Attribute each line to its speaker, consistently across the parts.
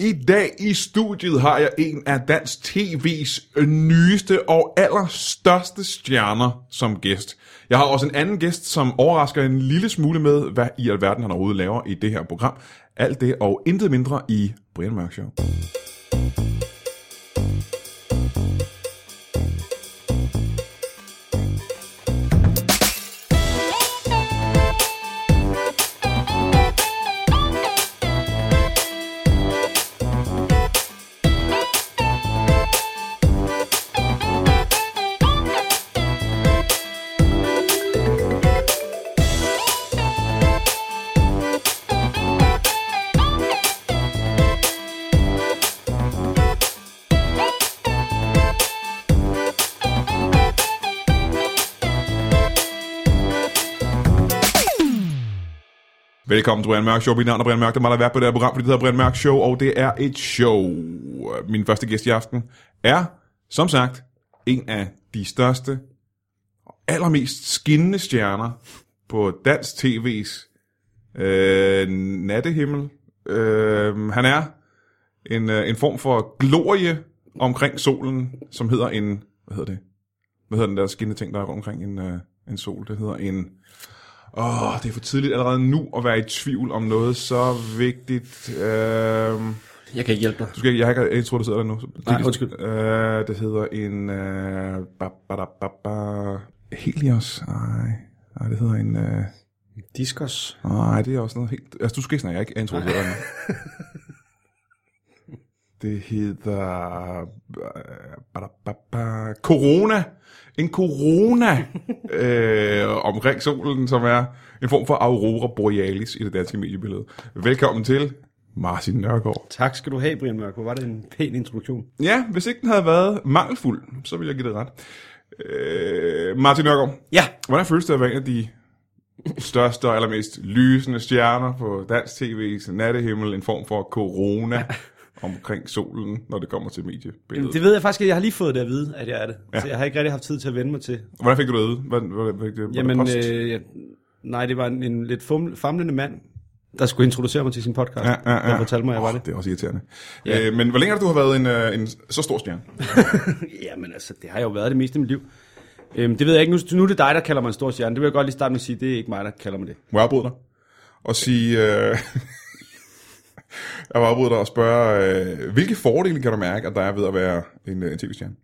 Speaker 1: I dag i studiet har jeg en af dansk tv's nyeste og allerstørste stjerner som gæst. Jeg har også en anden gæst, som overrasker en lille smule med, hvad i alverden han overhovedet laver i det her program. Alt det og intet mindre i Brian Mørk Show. Velkommen til Brian Mørk Show. Mit navn er Brian Mørk. Det er mig, der er vært på det her program, fordi det hedder Brian Mørk Show, og det er et show. Min første gæst i aften er, som sagt, en af de største og allermest skinnende stjerner på dansk tv's øh, nattehimmel. Øh, han er en, øh, en form for glorie omkring solen, som hedder en... Hvad hedder det? Hvad hedder den der skinnende ting, der er rundt omkring en, øh, en sol? Det hedder en... Åh, oh, det er for tidligt allerede nu at være i tvivl om noget så vigtigt. Uh, du
Speaker 2: Jeg kan ikke hjælpe dig.
Speaker 1: skal, ikke- jeg har ikke introduceret dig nu. så-
Speaker 2: Nej, undskyld.
Speaker 1: Øh, det hedder en... Uh, ba, ba, da, ba, ba, Helios? Nej. Nej, det hedder en... øh,
Speaker 2: Diskos.
Speaker 1: Nej, det er også noget helt... Altså, du skal ikke snakke, jeg er ikke introduceret dig nu. Det hedder... øh, ba, da, ba, ba, Corona. En corona øh, omkring solen, som er en form for aurora borealis i det danske mediebillede. Velkommen til Martin Nørgaard.
Speaker 2: Tak skal du have, Brian Mørk. Hvor var det en pæn introduktion.
Speaker 1: Ja, hvis ikke den havde været mangelfuld, så ville jeg give det ret. Øh, Martin Nørgaard,
Speaker 2: Ja.
Speaker 1: Hvordan føles det at være en af de største og allermest lysende stjerner på dansk tv's nattehimmel, en form for corona omkring solen, når det kommer til
Speaker 2: Jamen,
Speaker 1: mediebilledet?
Speaker 2: det ved jeg faktisk, at jeg har lige fået det at vide, at jeg er det. Ja. Så jeg har ikke rigtig haft tid til at vende mig til.
Speaker 1: Hvordan fik du det at vide? Hvad, hvad, hvad, hvad,
Speaker 2: Jamen,
Speaker 1: post?
Speaker 2: øh, jeg, nej, det var en, en lidt fuml, famlende mand, der skulle introducere mig til sin podcast.
Speaker 1: Ja, ja, ja.
Speaker 2: Der fortalte mig, at jeg var
Speaker 1: Åh,
Speaker 2: det.
Speaker 1: Det er også irriterende.
Speaker 2: Ja.
Speaker 1: Øh, men hvor længe har du har været en, øh, en så stor stjerne?
Speaker 2: Jamen altså, det har jeg jo været det meste af mit liv. Øhm, det ved jeg ikke. Nu, nu er det dig, der kalder mig en stor stjerne. Det vil jeg godt lige starte med at sige. Det er ikke mig, der kalder mig det.
Speaker 1: Må jeg afbryde dig? Og sige... Øh, jeg må afbryde dig og spørge, øh, hvilke fordele kan du mærke, at der er ved at være en, øh, en tv-stjerne?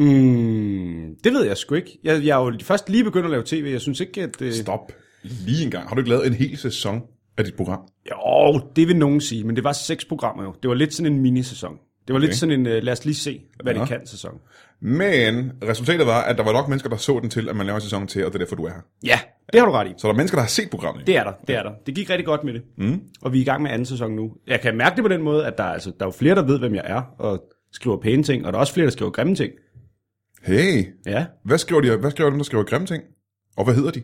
Speaker 2: Mm, det ved jeg sgu ikke. Jeg, jeg er jo først lige begyndt at lave tv. Jeg synes ikke, at... Øh...
Speaker 1: Stop lige en gang. Har du ikke lavet en hel sæson af dit program?
Speaker 2: Jo, det vil nogen sige, men det var seks programmer jo. Det var lidt sådan en minisæson. Det var okay. lidt sådan en, øh, lad os lige se, hvad ja.
Speaker 1: Ja.
Speaker 2: det kan sæson.
Speaker 1: Men resultatet var, at der var nok mennesker, der så den til, at man laver en sæson til, og det er derfor, du er her.
Speaker 2: Ja, det har du ret i.
Speaker 1: Så der er mennesker, der har set programmet. ikke?
Speaker 2: Det er der, det er der. Det gik rigtig godt med det. Mm. Og vi er i gang med anden sæson nu. Jeg kan mærke det på den måde, at der, er, altså, der er jo flere, der ved, hvem jeg er, og skriver pæne ting, og der er også flere, der skriver grimme ting.
Speaker 1: Hey,
Speaker 2: Ja,
Speaker 1: hvad skriver, de, hvad skriver dem, der skriver grimme ting? Og hvad hedder de?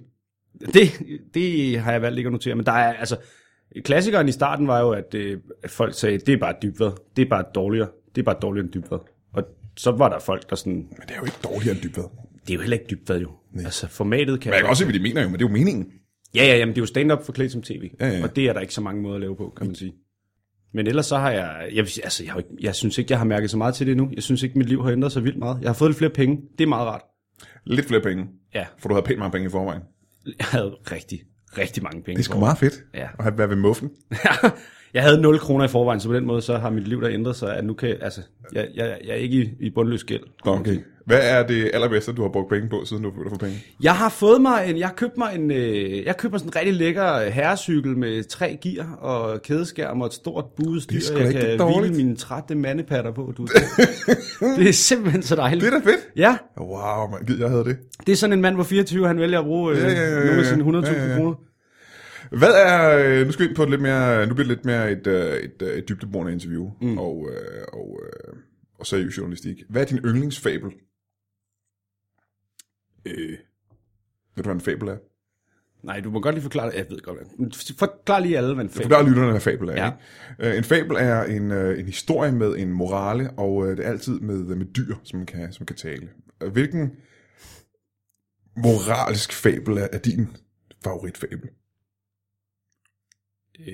Speaker 2: det, det har jeg valgt ikke at notere, men der er altså... Klassikeren i starten var jo, at, øh, at folk sagde, det er bare dybvad, det er bare dårligere, det er bare dårligere end dybvad. Og så var der folk, der sådan,
Speaker 1: Men det er jo ikke dårligere end dybvad.
Speaker 2: det er jo heller ikke dybvad jo. Nej. Altså formatet kan
Speaker 1: Men jeg kan også se, hvad de mener jo, men det er jo meningen.
Speaker 2: Ja, ja, jamen, det er jo stand-up forklædt som tv,
Speaker 1: Ja, ja.
Speaker 2: og det er der ikke så mange måder at lave på, kan man sige. Men ellers så har jeg, jeg, vil sige, altså, jeg, har jo ikke, jeg synes ikke, jeg har mærket så meget til det nu. Jeg synes ikke, mit liv har ændret sig vildt meget. Jeg har fået lidt flere penge, det er meget rart.
Speaker 1: Lidt flere penge,
Speaker 2: Ja,
Speaker 1: for du havde pænt mange penge i forvejen.
Speaker 2: jeg havde rigtig, rigtig mange penge.
Speaker 1: Det er sgu meget fedt
Speaker 2: Ja.
Speaker 1: at have- være ved muffen.
Speaker 2: jeg havde 0 kroner i forvejen, så på den måde så har mit liv der ændret sig, at nu kan, altså, jeg, jeg, jeg er ikke i, i bundløs gæld.
Speaker 1: Nå, Okay. Hvad er det allerbedste, du har brugt penge på, siden du begyndte at få penge?
Speaker 2: Jeg har fået mig en, jeg købte mig en, øh, jeg køber sådan en rigtig lækker øh, herrecykel med tre gear og kædeskærm og et stort budestyr,
Speaker 1: Det er sgu da
Speaker 2: jeg
Speaker 1: ikke
Speaker 2: kan
Speaker 1: dårligt.
Speaker 2: hvile mine trætte mandepatter på. Du. det er simpelthen så dejligt.
Speaker 1: Det er da fedt.
Speaker 2: Ja,
Speaker 1: Wow, man, gid jeg havde det.
Speaker 2: det er sådan en mand på 24, han vælger at bruge øh,
Speaker 1: Ja,
Speaker 2: ja,
Speaker 1: ja, ja, ja,
Speaker 2: nogle
Speaker 1: ja.
Speaker 2: af sine 100.000
Speaker 1: Ja, ja, ja.
Speaker 2: kroner.
Speaker 1: Hvad er, øh, nu skal vi ind på et lidt mere, nu bliver det lidt mere et, øh, et, øh, et dybdeborende interview mm. og, øh, og, øh, og seriøs journalistik. Hvad er din yndlingsfabel? Øh. Ved du, hvad en fabel er?
Speaker 2: Nej, du må godt lige forklare det. Jeg ved godt, hvad. Forklar lige alle, hvad en fabel
Speaker 1: Forklar lytterne, hvad fabel er.
Speaker 2: Ja.
Speaker 1: Ja. Ikke? Øh, En fabel er en, øh, en historie med en morale, og øh, det er altid med, med dyr, som kan, som kan tale. Øh, Hvilken moralsk fabel er, er din favoritfabel?
Speaker 2: Øh,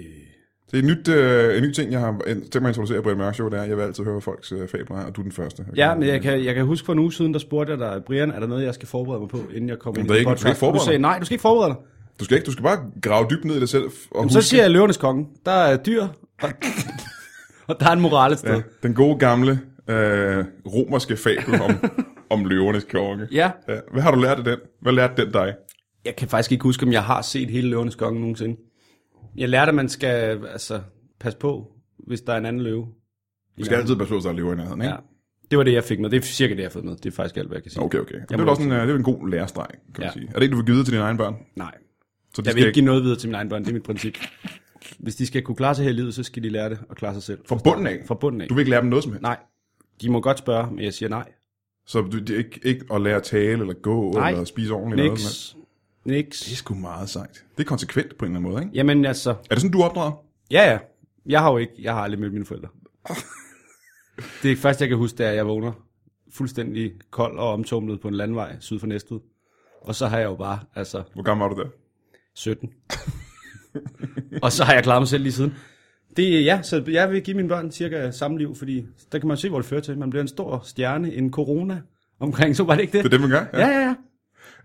Speaker 1: Det er en, nyt, øh, en ny ting, jeg har en- tænkt mig at introducere i Brian Mørk Show, det er, at jeg vil altid høre hvad folks øh, fabler, er, og du er den første.
Speaker 2: Ja, men jeg kan, jeg kan huske for en uge siden, der spurgte jeg dig, Brian, er der noget, jeg skal forberede mig på, inden jeg kommer
Speaker 1: Jamen,
Speaker 2: ind
Speaker 1: der er
Speaker 2: i
Speaker 1: ikke- du skal ikke
Speaker 2: Og Du
Speaker 1: forberede
Speaker 2: sagde,
Speaker 1: dig.
Speaker 2: nej, du skal ikke forberede dig.
Speaker 1: Du skal ikke, du skal bare grave dybt ned i dig selv. Og
Speaker 2: Jamen,
Speaker 1: huske-
Speaker 2: så siger jeg løvernes konge. Der er dyr, og, og der er en moral et sted.
Speaker 1: Ja, den gode gamle øh, romerske fabel om, om løvernes konge.
Speaker 2: Ja.
Speaker 1: ja. Hvad har du lært af den? Hvad lærte den dig?
Speaker 2: Jeg kan faktisk ikke huske, om jeg har set hele løvernes konge nogensinde. Jeg lærte, at man skal altså, passe på, hvis der er en anden løve.
Speaker 1: Du skal altid beslutte sig at leve i nærheden, ikke?
Speaker 2: Ja. Det var det, jeg fik med. Det er cirka det, jeg har fået med. Det er faktisk alt, hvad jeg kan sige.
Speaker 1: Okay, okay. Og det er
Speaker 2: må
Speaker 1: vel også en, øh, det er vel en god lærestreg, kan man
Speaker 2: altså- Ja.
Speaker 1: sige. Er det en, du vil give videre til dine egne børn?
Speaker 2: Nej.
Speaker 1: Så de
Speaker 2: Jeg vil
Speaker 1: skal
Speaker 2: ikke give noget videre til mine egne børn. Det er mit princip. Hvis de skal kunne klare sig her i livet, så skal de lære det og klare sig selv.
Speaker 1: Fra bunden af?
Speaker 2: Fra bunden af.
Speaker 1: Du vil ikke lære dem noget som helst?
Speaker 2: Nej. De må godt spørge, men jeg siger nej.
Speaker 1: Så du, det er ikke, ikke at lære at tale, eller gå,
Speaker 2: Nej.
Speaker 1: eller spise ordentligt? Eller noget som helst?
Speaker 2: Niks.
Speaker 1: Det er
Speaker 2: Niks.
Speaker 1: sgu meget sejt. Det er konsekvent på en eller anden måde, ikke?
Speaker 2: Jamen altså,
Speaker 1: Er det sådan, du opdrager?
Speaker 2: ja ja. Jeg har jo ikke, jeg har aldrig mødt mine forældre. Det første, jeg kan huske, det er, at jeg vågner fuldstændig kold og omtumlet på en landvej syd for Næstved. Og så har jeg jo bare, altså,
Speaker 1: Hvor gammel var du der?
Speaker 2: 17. og så har jeg klaret mig selv lige siden. Det, ja, så jeg vil give mine børn cirka samme liv, fordi der kan man se, hvor det fører til. Man bliver en stor stjerne, en corona omkring, så var det ikke det?
Speaker 1: Det er det, man gør?
Speaker 2: Ja, ja, ja.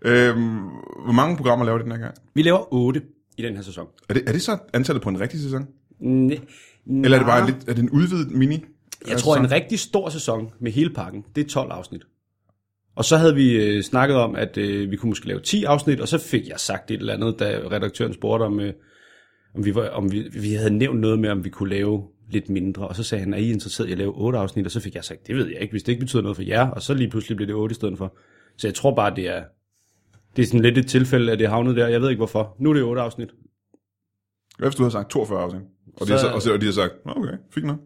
Speaker 1: Øhm, hvor mange programmer laver de den her gang?
Speaker 2: Vi laver 8 i den her sæson.
Speaker 1: Er det, er det så antallet på en rigtig sæson?
Speaker 2: Ne-
Speaker 1: Eller er det bare en lidt, er det en udvidet mini? Øh, Altså,
Speaker 2: Jeg tror, en rigtig stor sæson med hele pakken, det er 12 afsnit. Og så havde vi øh, snakket om, at øh, vi kunne måske lave 10 afsnit, og så fik jeg sagt et eller andet, da redaktøren spurgte, om, øh, om, vi, var, om vi, vi havde nævnt noget med, om vi kunne lave lidt mindre. Og så sagde han, er I interesseret i at lave 8 afsnit? Og så fik jeg sagt, det ved jeg ikke, hvis det ikke betyder noget for jer. Og så lige pludselig blev det 8 i stedet for. Så jeg tror bare, det er, det er sådan lidt et tilfælde, at det havnede der. Jeg ved ikke hvorfor. Nu er det 8 afsnit.
Speaker 1: Hvad hvis du havde sagt 42 afsnit? Og, de har
Speaker 2: Så-
Speaker 1: så, og, så, og de har sagt, "Nå, okay, fint nok.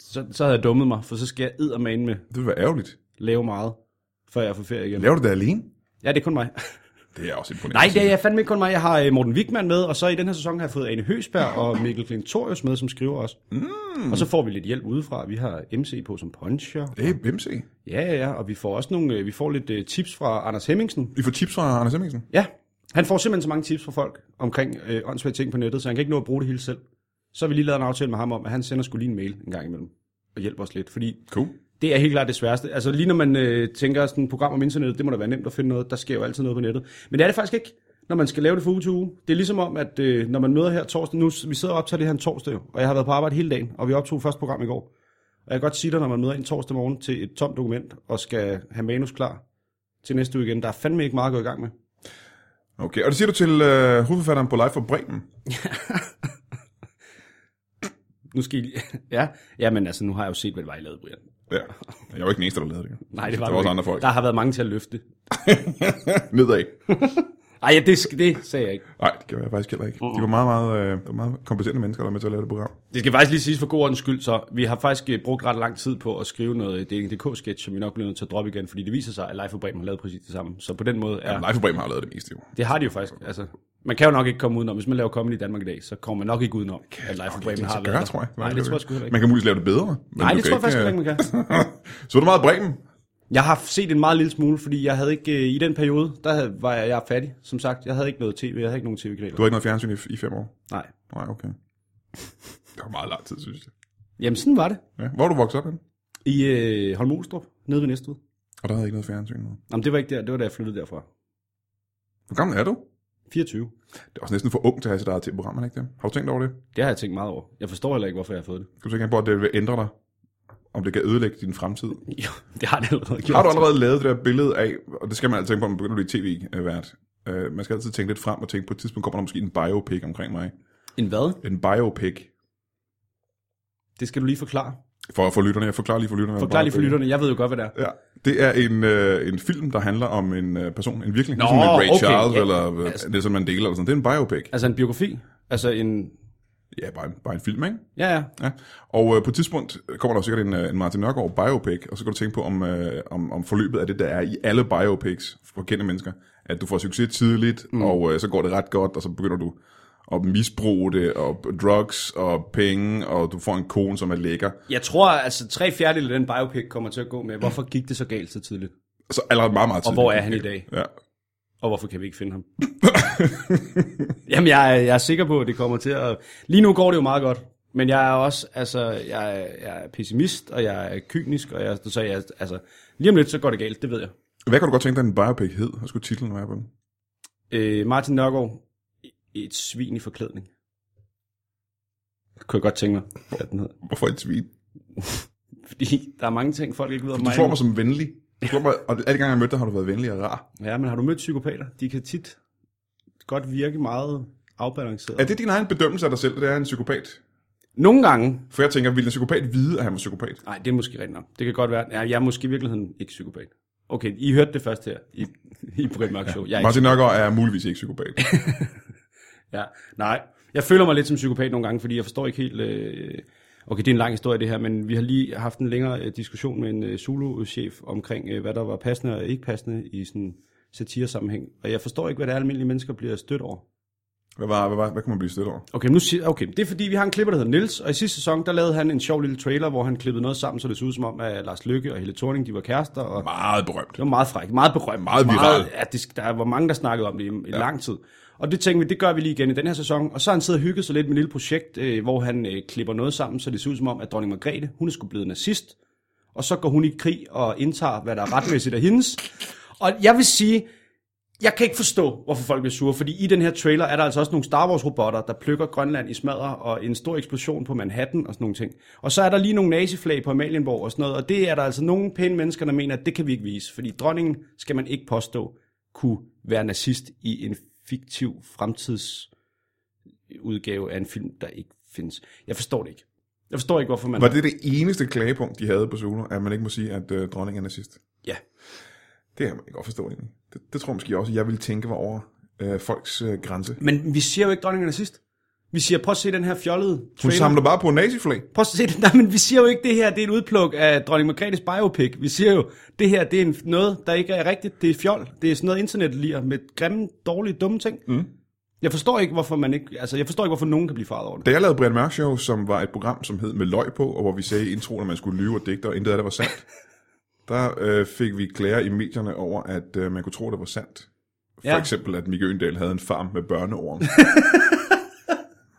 Speaker 2: Så, så havde jeg dummet mig, for så skal jeg eddermane med
Speaker 1: Det ville være ærgerligt.
Speaker 2: lave meget, før jeg får ferie igen.
Speaker 1: Laver du det alene?
Speaker 2: Ja, det er kun mig.
Speaker 1: Det er også imponerende.
Speaker 2: Nej, det er jeg fandme ikke kun mig. Jeg har øh, Morten Wigman med, og så i den her sæson har jeg fået Ane Høsberg og Mikkel Klintorius med, som skriver også. Mm. Og så får vi lidt hjælp udefra. Vi har MC på som puncher.
Speaker 1: Det er BMC.
Speaker 2: Ja, ja, ja. Og vi får også nogle, øh, vi får lidt øh, tips fra Anders Hemmingsen.
Speaker 1: Vi får tips fra Anders Hemmingsen.
Speaker 2: Ja, han får simpelthen så mange tips fra folk omkring øh, åndssvage ting på nettet, så han kan ikke nå at bruge det hele selv. Så har vi lige lavet en aftale med ham om, at han sender skulle lige en mail en gang imellem og hjælper os lidt. Fordi
Speaker 1: Cool.
Speaker 2: det er helt klart det sværeste. Altså lige når man øh, tænker sådan et program om internettet, det må da være nemt at finde noget. Der sker jo altid noget på nettet. Men det er det faktisk ikke, når man skal lave det fra uge til uge. Det er ligesom om, at øh, når man møder her torsdag, nu vi sidder og optager det her en torsdag, jo, og jeg har været på arbejde hele dagen, og vi optog første program i går. Og jeg kan godt sige dig, når man møder en torsdag morgen til et tomt dokument, og skal have manus klar til næste uge igen, der er fandme ikke meget at gå i gang med.
Speaker 1: Okay, og det siger du til øh, hovedforfatteren på Live for Bremen.
Speaker 2: Nu skal I lige... ja, jamen altså, nu har jeg jo set, hvad det var, I lavede, Brian.
Speaker 1: Ja, jeg var ikke den eneste, der lavede det.
Speaker 2: Nej, det var,
Speaker 1: der
Speaker 2: du
Speaker 1: var også
Speaker 2: ikke.
Speaker 1: andre folk.
Speaker 2: Der har været mange til at løfte.
Speaker 1: Nedad.
Speaker 2: Ej, ja, det, skal- det sagde jeg ikke.
Speaker 1: Nej, det gjorde jeg faktisk heller ikke. De var meget, meget, øh, det var meget kompetente mennesker, der var med til at lave det program.
Speaker 2: Det skal faktisk lige siges for god ordens skyld, så vi har faktisk øh, brugt ret lang tid på at skrive noget øh, DNDK-sketch, som vi nok bliver nødt til at droppe igen, fordi det viser sig, at Life for Bremen har lavet præcis det samme. Så på den måde er...
Speaker 1: Ja. Live for Bremen har lavet det meste, jo.
Speaker 2: Det har de jo faktisk. Altså, man kan jo nok ikke komme udenom. Hvis man laver comedy i Danmark i dag, så kommer man nok ikke udenom, at Life for Bremen har
Speaker 1: Det gør,
Speaker 2: været
Speaker 1: jeg, tror jeg.
Speaker 2: der. Nej, det tror jeg sgu heller ikke.
Speaker 1: Man kan muligvis lave det bedre. men
Speaker 2: Nej,
Speaker 1: du
Speaker 2: det
Speaker 1: kan øh,
Speaker 2: tror jeg faktisk heller ikke, man kan.
Speaker 1: Så var det meget Bremen.
Speaker 2: Jeg har set en meget lille smule, fordi jeg havde ikke... øh, I den periode, der havde, var jeg, jeg er fattig, som sagt. Jeg havde ikke noget tv, jeg havde ikke nogen
Speaker 1: Du
Speaker 2: tv-kanaler.
Speaker 1: har ikke noget fjernsyn i, i fem år?
Speaker 2: Nej.
Speaker 1: Nej, okay. Det var meget lang tid, synes jeg.
Speaker 2: Jamen, sådan var det.
Speaker 1: Ja. Hvor er du vokset op hen?
Speaker 2: I øh, Holm Olstrup, nede ved Næstved.
Speaker 1: Og der havde jeg ikke noget fjernsyn. nu.
Speaker 2: Jamen, det var ikke der. Det var da jeg flyttede derfra.
Speaker 1: Hvor gammel er du?
Speaker 2: 24.
Speaker 1: Det er også næsten for ung til at have sit eget tv-program, er det ikke det? Har du tænkt over det?
Speaker 2: Det har jeg tænkt meget over. Jeg forstår heller ikke, hvorfor jeg har fået det.
Speaker 1: Skal du tænke på, at det vil ændre dig? Om det kan ødelægge din fremtid?
Speaker 2: Jo, det har det allerede gjort.
Speaker 1: Har du allerede lavet det der billede af, og det skal man altid tænke på, når man begynder at blive tv-vært. Øh, man skal altid tænke lidt frem og tænke, på et tidspunkt kommer der måske en biopic omkring mig.
Speaker 2: En hvad?
Speaker 1: En biopic.
Speaker 2: Det skal du lige forklare.
Speaker 1: For, for lytterne, jeg forklarer lige for lytterne. hvad en
Speaker 2: Forklar lige for
Speaker 1: biopic er.
Speaker 2: lytterne. Jeg ved jo godt, hvad det er.
Speaker 1: Ja, det er en, øh, en film, der handler om en øh, person, en virkelig,
Speaker 2: Nå,
Speaker 1: ligesom en Ray
Speaker 2: okay,
Speaker 1: Charles,
Speaker 2: ja.
Speaker 1: eller øh,
Speaker 2: Altså-
Speaker 1: Nelson Mandela, eller sådan. det er en biopic.
Speaker 2: Altså en biografi. Altså en...
Speaker 1: Ja, bare en, bare en film, ikke?
Speaker 2: Ja, ja.
Speaker 1: Ja. Og øh, på et tidspunkt kommer der jo sikkert en, øh, en Martin Nørgaard biopic, og så kan du tænke på, om, øh, om, om forløbet af det, der er i alle biopics for kendte mennesker, at du får succes tidligt, mm. og øh, så går det ret godt, og så begynder du at misbruge det, og drugs, og penge, og du får en kone, som er lækker.
Speaker 2: Jeg tror, altså tre fjerdedele af den biopic kommer til at gå med, hvorfor gik det så galt så tidligt?
Speaker 1: Så allerede meget, meget
Speaker 2: Og
Speaker 1: tidligt.
Speaker 2: hvor er han i dag?
Speaker 1: Ja.
Speaker 2: Og hvorfor kan vi ikke finde ham? Jamen, jeg, er- jeg er sikker på, at det kommer til at... Lige nu går det jo meget godt. Men jeg er også, altså, jeg, er- jeg er pessimist, og jeg er kynisk, og jeg, så jeg, altså, lige om lidt, så går det galt, det ved jeg.
Speaker 1: Hvad kan du godt tænke dig, en biopic hed? Hvad skulle titlen være på den?
Speaker 2: Øh, Martin Nørgaard, et svin i forklædning. Det kunne jeg godt tænke mig, at den hed.
Speaker 1: Hvorfor et svin?
Speaker 2: Fordi der er mange ting, folk ikke ved om
Speaker 1: Du slår mig som venlig. Du slår mig, og alle gange jeg mødte dig, har du været venlig og rar.
Speaker 2: Ja, men har du mødt psykopater? De kan tit godt virke meget afbalanceret.
Speaker 1: Er det din egen bedømmelse af dig selv, at det er en psykopat?
Speaker 2: Nogle gange,
Speaker 1: For jeg tænker, ville en psykopat vide, at han var psykopat?
Speaker 2: nej, det er måske rent nok. Det kan godt være, ja, jeg er måske i virkeligheden ikke psykopat. Okay, I hørte det først her i, i Britt Mørk Show. Jeg er ikke
Speaker 1: Martin Nørgaard er muligvis ikke psykopat.
Speaker 2: Ja, nej. Jeg føler mig lidt som psykopat nogle gange, fordi jeg forstår ikke helt... Øh... Okay, det er en lang historie det her, men vi har lige haft en længere øh, diskussion med en øh, Zulu-chef omkring, øh, hvad der var passende og ikke passende i sådan satiresammenhæng. Og jeg forstår ikke, hvad det er, almindelige mennesker bliver stødt over.
Speaker 1: Hvad, var, hvad, var, hvad kunne man blive stødt over?
Speaker 2: Okay, nu siger, okay, det er fordi, vi har en klipper, der hedder Nils, og i sidste sæson, der lavede han en sjov lille trailer, hvor han klippede noget sammen, så det så ud som om, at Lars Lykke og Helle Thorning, de var kærester, og
Speaker 1: Meget berømt.
Speaker 2: det var meget frækt, meget berømt.
Speaker 1: Meget viral.
Speaker 2: ja, det, der var mange, der snakkede om det i, i ja. lang tid. Og det tænkte vi, det gør vi lige igen i den her sæson. Og så har han siddet og hygget sig lidt med et lille projekt, øh, hvor han øh, klipper noget sammen, så det ser ud som om, at dronning Margrethe, hun er sgu blevet nazist. Og så går hun i krig og indtager, hvad der er retmæssigt af hendes. Og jeg vil sige, jeg kan ikke forstå, hvorfor folk bliver sure, fordi i den her trailer er der altså også nogle Star Wars-robotter, der plukker Grønland i smadre, og en stor eksplosion på Manhattan og sådan nogle ting. Og så er der lige nogle naziflag på Amalienborg og sådan noget, og det er der altså nogle pæne mennesker, der mener, at det kan vi ikke vise, fordi dronningen skal man ikke påstå kunne være nazist i en fiktiv fremtidsudgave af en film, der ikke findes. Jeg forstår det ikke. Jeg forstår ikke, hvorfor man...
Speaker 1: Var det det eneste klagepunkt, de havde på Zulu, at man ikke må sige, at øh, dronningen er nazist?
Speaker 2: Ja.
Speaker 1: Det kan man godt forstå egentlig. Det, det tror jeg måske også, at jeg ville tænke var over øh, folks øh, grænse.
Speaker 2: Men vi siger jo ikke, at dronningen er nazist. Vi siger, prøv at se den her fjollede
Speaker 1: Hun
Speaker 2: trailer.
Speaker 1: samler bare på naziflag.
Speaker 2: Prøv at se det. Nej, men vi siger jo ikke, det her det er et udpluk af dronning Margrethes biopic. Vi siger jo, det her det er en, noget, der ikke er rigtigt. Det er fjol. Det er sådan noget internet liger med grimme, dårlige, dumme ting. Mm. Jeg forstår ikke, hvorfor man ikke... Altså, jeg forstår ikke, hvorfor nogen kan blive farvet over det.
Speaker 1: Da jeg lavede Brian Mørk Show, som var et program, som hed Med løg på, og hvor vi sagde i introen, at man skulle lyve og digte, og intet af det var sandt, der øh, fik vi klager i medierne over, at øh, man kunne tro, at det var sandt. For
Speaker 2: Ja.
Speaker 1: ja. eksempel, at Mikke Øndal havde en farm med børneorm,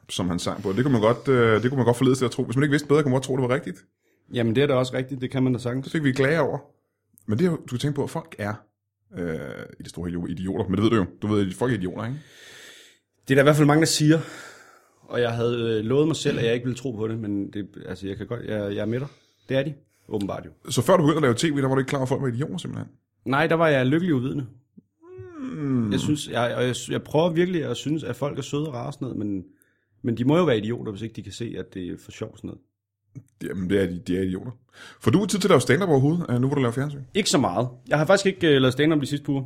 Speaker 1: som han sang på. Det kunne man godt, øh, det kunne man godt forledes til at tro. Hvis man ikke vidste bedre, kunne man godt tro, at det var rigtigt.
Speaker 2: Jamen, det er da også rigtigt. Det kan man da sagtens.
Speaker 1: Det fik vi klager over. Men det, er jo- du kan tænke på, at folk er øh, i det store hele jo idioter. Men det ved du jo. Du ved, at folk er idioter, ikke?
Speaker 2: Det er der i hvert fald mange, der siger. Og jeg havde øh, lovet mig selv, at jeg ikke ville tro på det. Men det, altså, jeg kan godt... Jeg, jeg er med dig. Det er de. Åbenbart jo.
Speaker 1: Så før du begyndte at lave tv, der var du ikke klar over, at folk var idioter, simpelthen.
Speaker 2: Nej, der var jeg lykkelig uvidende. Mm. Jeg, synes, jeg, og jeg, jeg prøver virkelig at synes, at folk er søde og rare og sådan noget, men, men de må jo være idioter, hvis ikke de kan se, at det er for sjovt sådan noget.
Speaker 1: Jamen, det er, de, de er idioter. For du er tid til at lave stand-up overhovedet, øh, nu hvor du laver fjernsyn.
Speaker 2: Ikke så meget. Jeg har faktisk ikke uh, lavet stand-up de sidste par uger.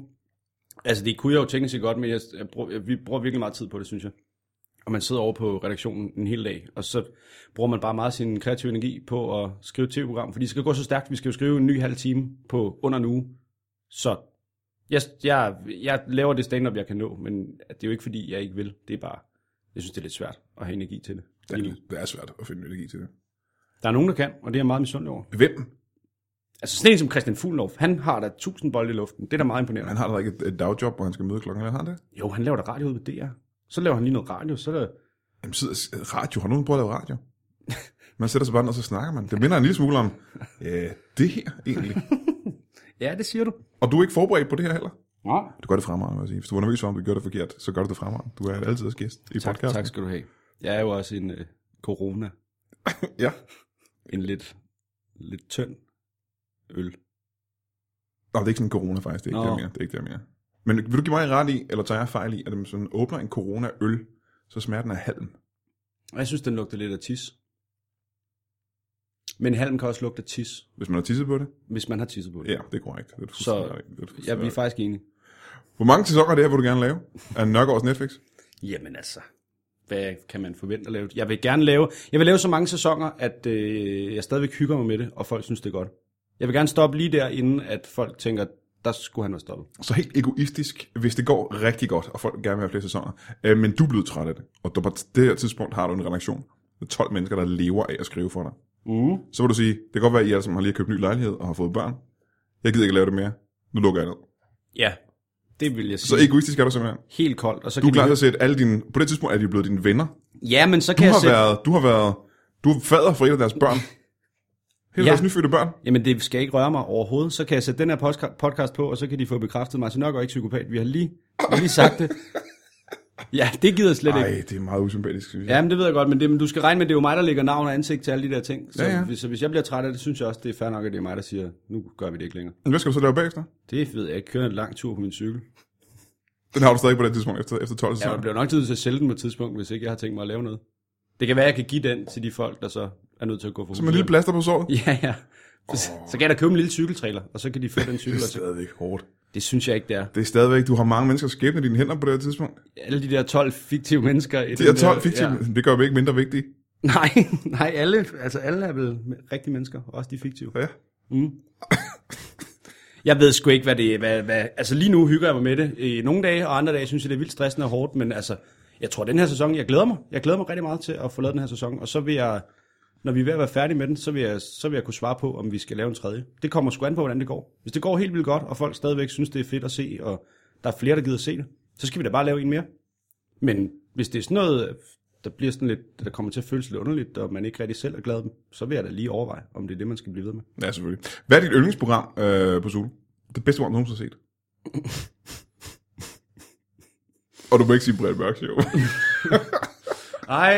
Speaker 2: Altså, det kunne jeg jo teknisk set godt, men jeg, jeg bruger, jeg, vi bruger virkelig meget tid på det, synes jeg. Og man sidder over på redaktionen en hel dag, og så bruger man bare meget sin kreative energi på at skrive et tv-program, fordi det skal gå så stærkt, vi skal jo skrive en ny halv time på under en uge. Så jeg, jeg, jeg laver det stand-up, jeg kan nå, men det er jo ikke, fordi jeg ikke vil. Det er bare, jeg synes, det er lidt svært at have energi til det.
Speaker 1: Det, er- det er svært at finde energi til det.
Speaker 2: Der er nogen, der kan, og det er jeg meget misundelig over.
Speaker 1: Hvem?
Speaker 2: Altså sådan en som Christian Fuglendorf, han har da tusind bolde i luften. Det er da meget imponerende.
Speaker 1: Han har da ikke et, et dagjob, hvor han skal møde klokken, eller har han det?
Speaker 2: Jo, han laver da radio ud på DR. Så laver han lige noget radio, så er der...
Speaker 1: Jamen, sidder, radio. Har nogen prøvet at lave radio? Man sætter sig bare ned, og så snakker man. Det minder en lille smule om øh, det her, egentlig.
Speaker 2: Ja, det siger du.
Speaker 1: Og du er ikke forberedt på det her heller?
Speaker 2: Ja.
Speaker 1: Du gør det fremragende, vil jeg sige. Hvis du var nervøs for, om du gjorde det forkert, så gør du det fremragende. Du er altid gæst i
Speaker 2: Tak,
Speaker 1: podcasten.
Speaker 2: tak skal du have. Jeg er jo også en øh, corona,
Speaker 1: Ja.
Speaker 2: en lidt, lidt tynd øl.
Speaker 1: Nå, det er ikke sådan en corona faktisk. Det er ikke
Speaker 2: Nå.
Speaker 1: det, jeg mener. Det er ikke det, jeg mener. Men vil du give mig ret i, eller tager jeg fejl i, at hvis man åbner en corona-øl, så smager den af halm?
Speaker 2: Og jeg synes, den lugter lidt af tis. Men halm kan også lugte af tis,
Speaker 1: Hvis man har tisset på det?
Speaker 2: hvis man har tisset på det.
Speaker 1: Ja, det er korrekt. Det er du
Speaker 2: Så-
Speaker 1: fuldstændig- det er du
Speaker 2: Jeg
Speaker 1: fuldstændig
Speaker 2: vi er faktisk enige.
Speaker 1: Hvor mange sæsoner af det her vil du gerne lave? Af Nørgaards Netflix?
Speaker 2: Jamen altså, hvad kan man forvente at lave? Jeg vil gerne lave, jeg vil lave så mange sæsoner, at øh, jeg stadigvæk hygger mig med det, og folk synes, det er godt. Jeg vil gerne stoppe lige der, inden at folk tænker, der skulle han være stoppet.
Speaker 1: Så helt egoistisk, hvis det går rigtig godt, og folk gerne vil have flere sæsoner, øh, men du er blevet træt af det, og du, på det her tidspunkt har du en redaktion med 12 mennesker, der lever af at skrive for dig,
Speaker 2: Mm.
Speaker 1: så vil du sige, det kan godt være, at I alle sammen har lige købt ny lejlighed og har fået børn. Jeg gider ikke lave det mere. Nu lukker jeg ned.
Speaker 2: Ja, det vil jeg sige.
Speaker 1: Så egoistisk er du simpelthen.
Speaker 2: Helt koldt. Og så
Speaker 1: Du er
Speaker 2: kan
Speaker 1: klar til
Speaker 2: de...
Speaker 1: at sætte alle dine... På det tidspunkt er de blevet dine venner.
Speaker 2: Ja, men så
Speaker 1: Du
Speaker 2: kan jeg
Speaker 1: har
Speaker 2: sætte...
Speaker 1: været, du har været Du er fader for et af deres børn. Helt ja.
Speaker 2: Ja.
Speaker 1: deres nyfødte børn.
Speaker 2: Jamen, det skal ikke røre mig overhovedet. Så kan jeg sætte den her postka- podcast på, og så kan de få bekræftet Martin Nørgaard er ikke psykopat. Vi har lige, vi har lige sagt det. Ja, det gider jeg slet ikke.
Speaker 1: Nej, det er meget usympatisk, synes jeg.
Speaker 2: Ja, men det ved jeg godt, men, det, men du skal regne med, at det er jo mig, der lægger navn og ansigt til alle de der ting. Så,
Speaker 1: Ja, ja.
Speaker 2: Hvis, så hvis jeg bliver træt af det, synes jeg også, det er fair nok, at det er mig, der siger, nu gør vi det ikke længere.
Speaker 1: Ja. Hvad skal du så lave bagefter?
Speaker 2: Det ved jeg ikke. Kører en lang tur på min cykel.
Speaker 1: Den har du stadig på det tidspunkt efter, efter 12
Speaker 2: Ja,
Speaker 1: sæsoner.
Speaker 2: jeg bliver nok nødt til at sælge den på et tidspunkt, hvis ikke jeg har tænkt mig at lave noget. Det kan være, jeg kan give den til de folk, der så er nødt til at gå for
Speaker 1: Som en lille plaster på såret.
Speaker 2: Ja, ja. Så, oh. så kan jeg da købe en lille cykeltrailer, og så kan de få den cykel.
Speaker 1: Det
Speaker 2: og
Speaker 1: er
Speaker 2: så-
Speaker 1: stadigvæk hårdt.
Speaker 2: Det synes jeg ikke, det er.
Speaker 1: Det er stadigvæk, du har mange mennesker skæbne i dine hænder på det her tidspunkt.
Speaker 2: Alle de der 12 fiktive mennesker. I
Speaker 1: Det er 12 fiktive, ja. det gør vi ikke mindre vigtige.
Speaker 2: Nej, nej, alle, altså alle er vel rigtige mennesker, også de fiktive.
Speaker 1: Ja.
Speaker 2: Jeg ved sgu ikke, hvad det er. Hvad, hvad, altså lige nu hygger jeg mig med det i nogle dage, og andre dage synes jeg, det er vildt stressende og hårdt, men altså, jeg tror, den her sæson, jeg glæder mig. Jeg glæder mig rigtig meget til at få lavet den her sæson, og så vil jeg, når vi er ved at være færdige med den, så vil, jeg, så vil jeg kunne svare på, om vi skal lave en tredje. Det kommer sgu an på, hvordan det går. Hvis det går helt vildt godt, og folk stadigvæk synes, det er fedt at se, og der er flere, der gider at se det, så skal vi da bare lave en mere. Men hvis det er sådan noget, der bliver sådan lidt, der kommer til at føles lidt underligt, og man ikke rigtig selv er glad, så vil jeg da lige overveje, om det er det, man skal blive ved med.
Speaker 1: Ja, selvfølgelig. Hvad er dit yndlingsprogram øh, på Zulu? Det bedste program, du nogensinde har set. Og du må ikke sige Brian Mørk Show.
Speaker 2: Ej,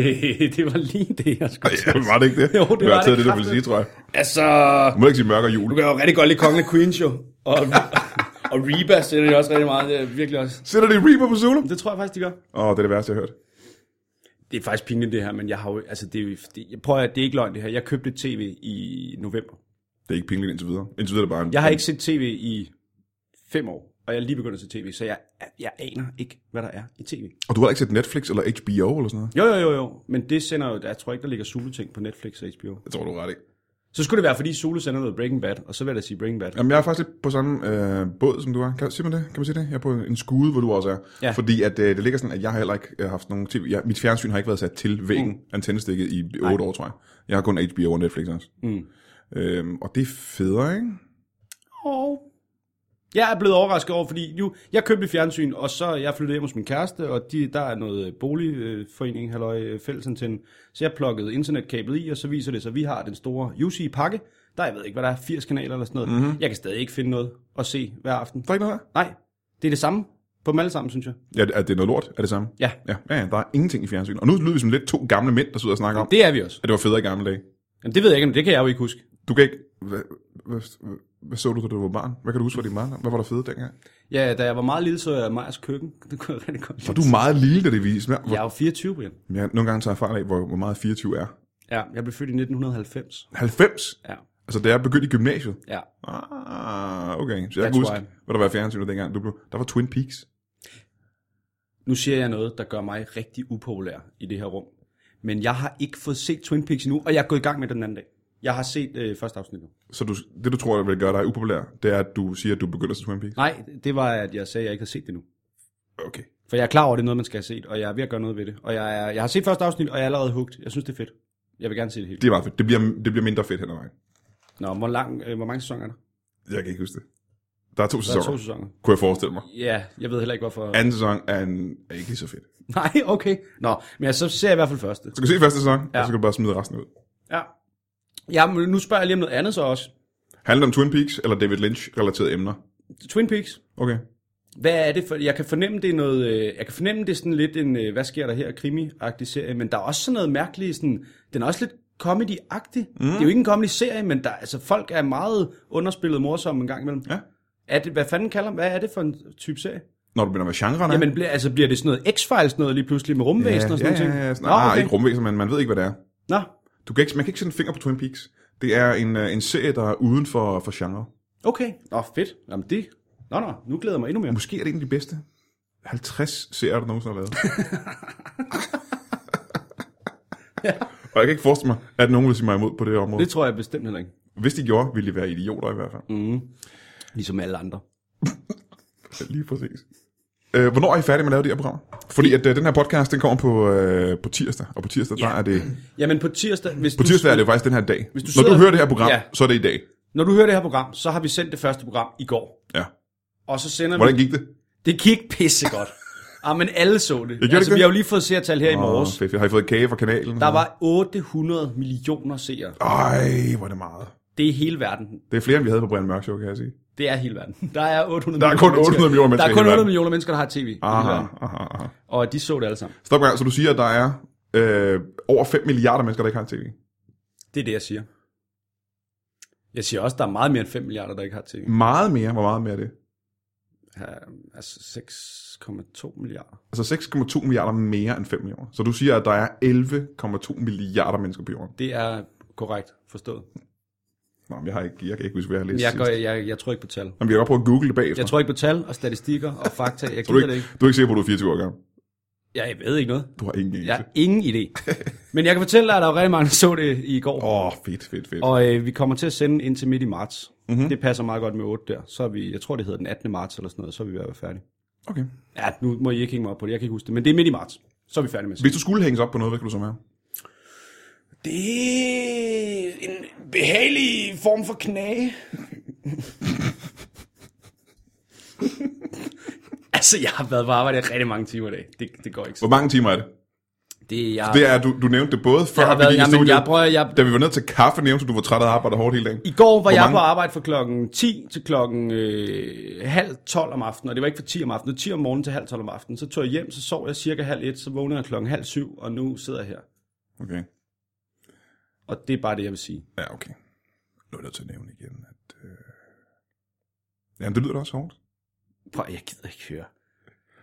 Speaker 2: det var lige det, jeg skulle
Speaker 1: ja, var det ikke det?
Speaker 2: Jo, det
Speaker 1: jeg har
Speaker 2: var
Speaker 1: taget
Speaker 2: det
Speaker 1: det, du ville
Speaker 2: kraftigt.
Speaker 1: sige, tror jeg.
Speaker 2: Altså,
Speaker 1: Du må ikke sige Mørk og Jul.
Speaker 2: du kan jo rigtig godt lide Kongen af Queens, jo. Og, og Reba sætter det også rigtig meget, det er virkelig også.
Speaker 1: Sætter de Reaper på Zulu?
Speaker 2: Det tror jeg faktisk, de gør.
Speaker 1: Åh, det er det værste, jeg har hørt.
Speaker 2: Det er faktisk pinligt, det her, men jeg har jo, altså, det, er jo- det jeg prøver at det er ikke løgn, det her. Jeg købte et tv i november.
Speaker 1: Det er ikke pinligt indtil videre. Indtil videre er det bare en...
Speaker 2: Jeg har ikke set tv i fem år, og jeg er lige begyndt at se tv, så jeg, jeg aner ikke, hvad der er i tv.
Speaker 1: Og du har ikke set Netflix eller HBO eller sådan noget?
Speaker 2: Jo, jo, jo, jo, men det sender jo, jeg tror ikke, der ligger Zulu-ting på Netflix og HBO.
Speaker 1: Jeg tror, du er ret i.
Speaker 2: Så skulle det være, fordi Zulu sender noget Breaking Bad, og så vil jeg da sige Breaking Bad.
Speaker 1: Jamen, jeg er faktisk lidt på samme øh, båd, som du er. Kan, siger man det? Kan man sige det? Jeg er på en skude, hvor du også er.
Speaker 2: Ja.
Speaker 1: Fordi at, øh, det ligger sådan, at jeg har heller ikke øh, haft nogen tv. Jeg, mit fjernsyn har ikke været sat til væggen, mm. antennestikket, i 8 år, tror jeg. Jeg har kun HBO og Netflix også.
Speaker 2: Mm.
Speaker 1: Øhm, og det er federe, ikke?
Speaker 2: Og jeg er blevet overrasket over, fordi nu, jeg købte fjernsyn, og så er jeg flyttede hjem hos min kæreste, og de, der er noget øh, boligforening, halløj, øh, fællesantenne. Så jeg plukkede internetkablet i, og så viser det sig, at vi har den store UC-pakke. Der, jeg ved ikke, hvad der er, 80 kanaler eller sådan noget. Mm-hmm. Jeg kan stadig ikke finde noget at se hver aften.
Speaker 1: Der er ikke noget her.
Speaker 2: Nej, det er det samme på dem alle sammen, synes jeg.
Speaker 1: Ja, det- er det noget lort? Er det samme?
Speaker 2: Ja,
Speaker 1: Ja, ja, ja, der er ingenting i fjernsynet. Og nu lyder vi som lidt to gamle mænd, der sidder og snakker om, det...
Speaker 2: det er vi også.
Speaker 1: at det var federe i gamle dage.
Speaker 2: Jamen, det ved jeg ikke, men det kan jeg jo ikke huske.
Speaker 1: Du kan ikke... Hvad, hvad, hvad så du, da du var barn? Hvad kan du huske, hvad din barn Hvad var der fedt dengang?
Speaker 2: Ja, da jeg var meget lille, så jeg Majers køkken. Det kunne jeg rigtig godt
Speaker 1: Og
Speaker 2: lide.
Speaker 1: du er meget lille, da det vises. Ja.
Speaker 2: Jeg er jo 24, Brian.
Speaker 1: Jeg nogle gange tager jeg fejl af, hvor, hvor meget 24 er.
Speaker 2: Ja, jeg blev født i 1990.
Speaker 1: 90?
Speaker 2: Ja,
Speaker 1: Altså, da jeg begyndte i gymnasiet?
Speaker 2: ja.
Speaker 1: Ah, okay. Så jeg
Speaker 2: That's
Speaker 1: kan huske,
Speaker 2: why.
Speaker 1: hvad der var i fjernsynet dengang. Du blev, der var Twin Peaks.
Speaker 2: Nu siger jeg noget, der gør mig rigtig upopulær i det her rum. Men jeg har ikke fået set Twin Peaks endnu, og jeg er gået i gang med den anden dag. Jeg har set øh, første afsnit nu.
Speaker 1: Så du, det, du tror, der vil gøre dig upopulær, det er, at du siger, at du begynder at se Twin Peaks?
Speaker 2: Nej, det var, at jeg sagde, at jeg ikke har set det nu.
Speaker 1: Okay.
Speaker 2: For jeg er klar over, at det er noget, man skal have set, og jeg er ved at gøre noget ved det. Og jeg, er, jeg har set første afsnit, og jeg er allerede hugt. Jeg synes, det er fedt. Jeg vil gerne se det hele.
Speaker 1: Det er meget fedt. Det bliver, det bliver mindre fedt hen ad vejen.
Speaker 2: Nå, hvor, lang, øh, hvor mange sæsoner er der?
Speaker 1: Jeg kan ikke huske det. Der er to
Speaker 2: Der er
Speaker 1: sæsoner,
Speaker 2: to sæsoner.
Speaker 1: kunne jeg forestille mig.
Speaker 2: Ja, jeg ved heller ikke, hvorfor.
Speaker 1: Anden sæson er, en, er ikke lige så fedt.
Speaker 2: Nej, okay. Nå, men jeg, så ser jeg i hvert fald første.
Speaker 1: Så kan du se første sæson, ja.
Speaker 2: Ja.
Speaker 1: og så kan du bare smide resten ud.
Speaker 2: Ja. ja men nu spørger jeg lige om noget andet så også.
Speaker 1: Handler det om Twin Peaks eller David Lynch-relaterede emner?
Speaker 2: Twin Peaks.
Speaker 1: Okay.
Speaker 2: Hvad er det for, jeg kan fornemme, det er noget, øh, jeg kan fornemme, det er sådan lidt en, øh, hvad sker der her, krimi-agtig serie, men der er også sådan noget mærkeligt, sådan, den er også lidt comedy-agtig. Mm. Det er jo ikke en comedy-serie, men der, altså, folk er meget underspillet morsomme en gang imellem.
Speaker 1: Ja.
Speaker 2: Er det, hvad fanden kalder man, hvad er det for en type serie?
Speaker 1: Når du begynder med genrerne?
Speaker 2: Jamen, bliver, altså, bliver det sådan noget X-Files noget lige pludselig med rumvæsen og sådan
Speaker 1: ja,
Speaker 2: noget?
Speaker 1: ja, ja, ja. Sådan, nej,
Speaker 2: Nå, okay.
Speaker 1: ikke rumvæsen, men man ved ikke, hvad det er.
Speaker 2: Nå,
Speaker 1: Du kan ikke, man kan ikke sætte en finger på Twin Peaks. Det er en, øh, en serie, der er uden for, for genre.
Speaker 2: okay. Nå, fedt. Jamen, det... Nå, nå, nu glæder jeg mig endnu mere.
Speaker 1: Måske er det en af de bedste 50 serier, der nogensinde har lavet. Og jeg kan ikke forestille mig, at nogen vil sige mig imod på det her område.
Speaker 2: Det tror jeg bestemt heller ikke.
Speaker 1: Hvis de gjorde, ville de være idioter i hvert fald. Mm.
Speaker 2: Ligesom alle andre.
Speaker 1: Lige præcis. Øh, hvornår er I færdige med at lave det her program? Fordi at øh, den her podcast, den kommer på, øh, på tirsdag. Og på tirsdag, der er det...
Speaker 2: Jamen, på tirsdag... Hvis
Speaker 1: På tirsdag er det jo faktisk den her dag. Hvis
Speaker 2: du
Speaker 1: Når du
Speaker 2: sidder-
Speaker 1: hører det her program, ja.
Speaker 2: Ja.
Speaker 1: så er det i dag.
Speaker 2: Når du hører det her program, så har vi sendt det første program i går.
Speaker 1: Ja.
Speaker 2: Og så sender vi...
Speaker 1: Hvordan gik det?
Speaker 2: Det gik pissegodt. Ah, men alle så det.
Speaker 1: gjorde ikke
Speaker 2: altså,
Speaker 1: det?
Speaker 2: vi har jo lige fået seertal her i morges.
Speaker 1: Åh, fedt. Har I fået kage fra kanalen?
Speaker 2: Der var 800 millioner seere.
Speaker 1: Ej, hvor er det meget.
Speaker 2: Det er hele verden.
Speaker 1: Det er flere, end vi havde på Brian Mørk Show, kan jeg sige.
Speaker 2: Det er hele verden. Der er 800
Speaker 1: Der er kun 800 millioner
Speaker 2: Der
Speaker 1: mennesker
Speaker 2: er
Speaker 1: i
Speaker 2: kun
Speaker 1: hele
Speaker 2: 800
Speaker 1: verden.
Speaker 2: millioner mennesker, der har tv. i hele
Speaker 1: Aha,
Speaker 2: verden.
Speaker 1: aha, aha.
Speaker 2: Og de så det alle sammen.
Speaker 1: Stop, en gang. så du siger, at der er øh, over 5 milliarder mennesker, der ikke har tv.
Speaker 2: Det er det, jeg siger. Jeg siger også, at der er meget mere end 5 milliarder, der ikke har tv.
Speaker 1: Meget mere. Hvor meget mere er det?
Speaker 2: Ja, altså 6,2 milliarder.
Speaker 1: Altså 6,2 milliarder mere end 5 millioner. Så du siger, at der er 11,2 milliarder mennesker på jorden.
Speaker 2: Det er korrekt forstået.
Speaker 1: Nå, men jeg, har ikke, jeg kan ikke huske, hvad jeg har læst
Speaker 2: Jeg,
Speaker 1: sidst.
Speaker 2: går, jeg, jeg tror ikke på tal.
Speaker 1: Jamen, vi kan godt prøve at google det bagefter.
Speaker 2: Jeg tror ikke på tal og statistikker og fakta. Jeg
Speaker 1: du, er
Speaker 2: gider det
Speaker 1: ikke,
Speaker 2: ikke.
Speaker 1: du er ikke sikker på, at du er 24 år gammel.
Speaker 2: Jeg ved ikke noget.
Speaker 1: Du har ingen anelse.
Speaker 2: Jeg
Speaker 1: Åh,
Speaker 2: har ingen idé. Men jeg kan fortælle dig, at der var rigtig mange, der så det i går.
Speaker 1: oh, fedt, fedt, fedt.
Speaker 2: Og øh, vi kommer til at sende ind til midt i marts. Mm-hmm. Det passer meget godt med 8 der. Så er vi, jeg tror det hedder den 18. marts eller sådan noget, så er vi ved at være færdige.
Speaker 1: Okay.
Speaker 2: Ja, nu må I ikke hænge mig op på det, jeg kan ikke huske det. Men det er midt i marts. Så er vi færdige med det.
Speaker 1: Hvis du skulle hænges op på noget, hvad skulle du så være?
Speaker 2: Det er en behagelig form for knage. altså, jeg har været på arbejde i rigtig mange timer i dag. Det, det går ikke.
Speaker 1: Hvor mange timer er det?
Speaker 2: Det er jeg...
Speaker 1: Det er, du, du nævnte det både før,
Speaker 2: jeg har
Speaker 1: vi
Speaker 2: været,
Speaker 1: gik i
Speaker 2: jamen,
Speaker 1: studiet.
Speaker 2: jeg prøver, jeg,
Speaker 1: Da vi var nede til kaffe, nævnte du, du var træt af at arbejde hårdt hele dagen.
Speaker 2: I går var jeg
Speaker 1: mange-
Speaker 2: på arbejde fra klokken 10 til klokken øh, halv 12 om aftenen, og det var ikke fra 10 om aftenen, det var 10 om morgenen til halv 12 om aftenen. Så tog jeg hjem, så sov jeg cirka halv 1, så vågnede jeg klokken halv 7, og nu sidder jeg her.
Speaker 1: Okay.
Speaker 2: Og det er bare det, jeg vil sige.
Speaker 1: Ja, okay. Nu er jeg nødt til at nævne igen, at... Øh... Jamen, det lyder da også hårdt.
Speaker 2: Prøv, jeg gider ikke høre.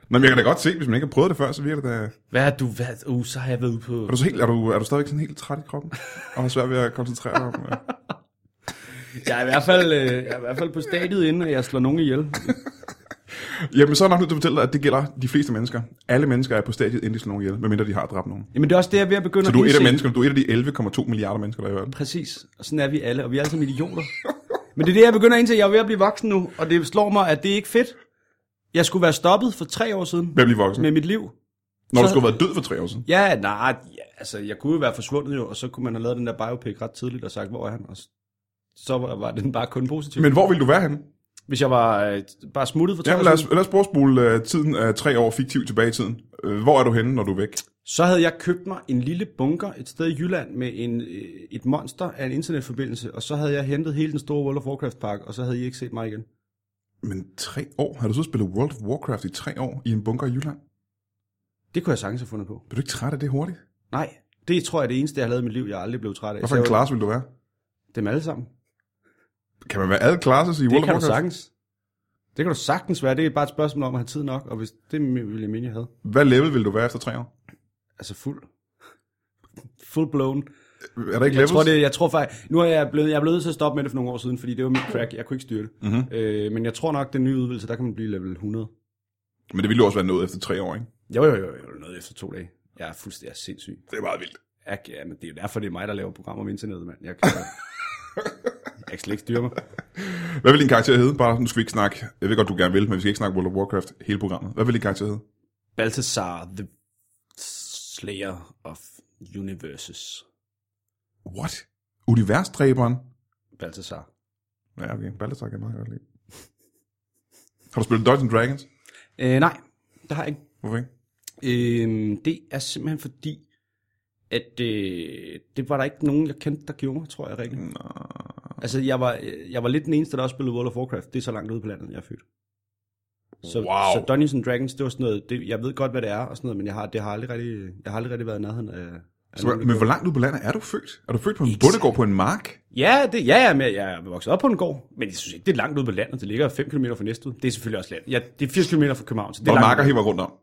Speaker 1: Nå, men jeg kan da godt se, hvis man ikke har prøvet det før, så virker det da...
Speaker 2: Hvad har du været? Uh, så har jeg været ude på...
Speaker 1: Er du, så helt, er du, er du stadigvæk sådan helt træt i kroppen? Og har svært ved at koncentrere dig om... Øh...
Speaker 2: Jeg er i hvert fald, øh, jeg er i hvert fald på stadiet inden, at jeg slår nogen ihjel.
Speaker 1: Jamen, så er jeg nok nødt til at fortælle dig, at det gælder de fleste mennesker. Alle mennesker er på stadiet, inden de slår nogen ihjel, medmindre de har dræbt nogen.
Speaker 2: Jamen det er også det, jeg er ved at begynde
Speaker 1: Så du er
Speaker 2: at
Speaker 1: et af
Speaker 2: indse.
Speaker 1: menneskerne. Du er et af de 11,2 milliarder mennesker, der er i verden.
Speaker 2: Præcis, og sådan er vi alle, og vi er alle sammen idioter. Men det er det, jeg begynder at indse, jeg er ved at blive voksen nu, og det slår mig, at det er ikke fedt. Jeg skulle være stoppet for tre år siden
Speaker 1: Hvem bliver voksen?
Speaker 2: med mit liv.
Speaker 1: Når du
Speaker 2: så-
Speaker 1: skulle have været død for tre år siden.
Speaker 2: Ja, nej, ja, altså jeg kunne jo være forsvundet jo, og så kunne man have lavet den der biopic ret tidligt og sagt, hvor er han? Og s- så var var den bare kun positiv. Men,
Speaker 1: Men hvor ville du være henne?
Speaker 2: Hvis jeg var øh, bare smuttet for tre
Speaker 1: Jamen,
Speaker 2: år
Speaker 1: lad
Speaker 2: siden,
Speaker 1: os, lad os prøve at spole uh, tiden af uh, tre år fiktivt tilbage i tiden. Uh, hvor er du henne, når du er væk?
Speaker 2: så havde jeg købt mig en lille bunker et sted i Jylland med en, øh, et monster af en internetforbindelse, og så havde jeg hentet hele den store World of Warcraft pakke, og så havde I ikke set mig igen.
Speaker 1: Men tre år? Har du så spillet World of Warcraft i tre år i en bunker i Jylland?
Speaker 2: Det kunne jeg sagtens have fundet på.
Speaker 1: Bliver du ikke træt af det hurtigt?
Speaker 2: Nej, det tror jeg er det eneste, jeg har lavet i mit liv, jeg aldrig blev træt af.
Speaker 1: Hvad for
Speaker 2: Så
Speaker 1: en
Speaker 2: Altså, jeg-
Speaker 1: klasse vil du være?
Speaker 2: Dem alle sammen.
Speaker 1: Kan man være alle classes i World
Speaker 2: Det
Speaker 1: of
Speaker 2: kan du
Speaker 1: Warcraft?
Speaker 2: sagtens. Det kan du sagtens være. Det er bare et spørgsmål om at have tid nok, og hvis det ville jeg mene, jeg havde.
Speaker 1: Hvad level vil du være efter tre år?
Speaker 2: Altså fuld. Full blown.
Speaker 1: Er der ikke
Speaker 2: Jeg
Speaker 1: levels?
Speaker 2: tror, det, jeg tror faktisk... Nu er jeg blevet, jeg er blevet nødt til at stoppe med det for nogle år siden, fordi det var mit crack. Jeg kunne ikke styre det.
Speaker 1: Mhm.
Speaker 2: Mm-hmm. Øh, men jeg tror nok, den nye udvidelse, der kan man blive level 100.
Speaker 1: Men det ville jo også være noget efter tre år, ikke?
Speaker 2: Jo, jo, jo, jo. Noget efter to dage. Jeg er fuldstændig jeg er sindssyg.
Speaker 1: Det er meget vildt.
Speaker 2: Jeg, ja, men det er jo derfor, det er mig, der laver programmer om internettet, mand. Jeg kan, jeg kan slet ikke styre mig.
Speaker 1: Hvad vil din karakter hedde? Bare, nu skal vi ikke snakke. Jeg ved godt, du gerne vil, men vi skal ikke snakke World of Warcraft hele programmet. Hvad vil din karakter hedde?
Speaker 2: Balthasar, the slayer of universes.
Speaker 1: What? Universdræberen?
Speaker 2: Balthasar.
Speaker 1: Ja, okay. Baltasar kan jeg meget godt lide. Har du spillet Dungeons and Dragons?
Speaker 2: Øh, nej, det har jeg
Speaker 1: Hvorfor ikke?
Speaker 2: ikke. Øh, det er simpelthen fordi, at øh, det var der ikke nogen, jeg kendte, der gjorde, tror jeg rigtigt.
Speaker 1: Nå.
Speaker 2: Altså, jeg var, øh, jeg var lidt den eneste, der også spillede World of Warcraft. Det er så langt ude på landet, jeg er født. Så,
Speaker 1: Wow.
Speaker 2: så Dungeons and Dragons, det var sådan noget, det, jeg ved godt, hvad det er og sådan noget, men jeg har, det har aldrig rigtig, jeg har aldrig rigtig været i nærheden af... af
Speaker 1: Så,
Speaker 2: nogen, der
Speaker 1: men
Speaker 2: gjorde
Speaker 1: hvor langt ude på landet er du født? Er du født på en bondegård på en mark?
Speaker 2: Ja, det, ja, ja, men jeg er vokset op på en gård, men jeg synes ikke, det er langt ude på landet. Det ligger 5 km fra Næstved. Det er selvfølgelig også land. Ja, det er 80 km fra København, så det er
Speaker 1: Hvor
Speaker 2: langt.
Speaker 1: marker hiver rundt om?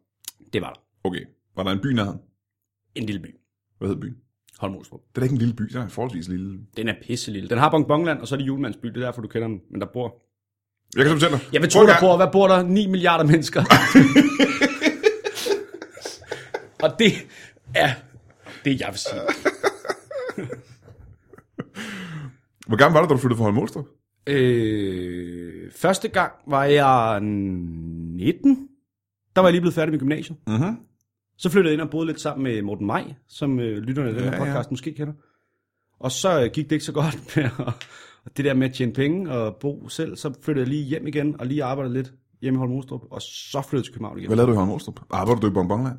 Speaker 2: Det var der.
Speaker 1: Okay. Var der en by nærheden?
Speaker 2: En lille by.
Speaker 1: Hvad hed byen?
Speaker 2: Holmrostrup.
Speaker 1: Det er da ikke en lille by, det er en forholdsvis lille.
Speaker 2: Den er pisse lille. Den har bonbonland, og så er det julemandsby. Det er derfor, du kender den. Men der bor...
Speaker 1: Jeg kan så fortælle dig.
Speaker 2: Jeg vil
Speaker 1: Prøv
Speaker 2: tro, der
Speaker 1: en gang.
Speaker 2: bor... Hvad bor der? 9 milliarder mennesker. og det er det, jeg vil sige.
Speaker 1: Hvor gammel var du, da du flyttede fra Holmolstrup?
Speaker 2: Øh, første gang var jeg 19. Der var jeg lige blevet færdig med gymnasiet.
Speaker 1: Mhm.
Speaker 2: Så flyttede jeg ind og boede lidt sammen med Morten Maj, som øh, lytterne af den her
Speaker 1: Ja,
Speaker 2: podcast ja. måske kender. Og så øh, gik det ikke så godt med at, og det der med at tjene penge og bo selv. Så flyttede jeg lige hjem igen og lige arbejdede lidt hjemme i Holm Olstrup, og så flyttede til København igen.
Speaker 1: Hvad lavede du i Holm Olstrup? Arbejder du i Bonbonland?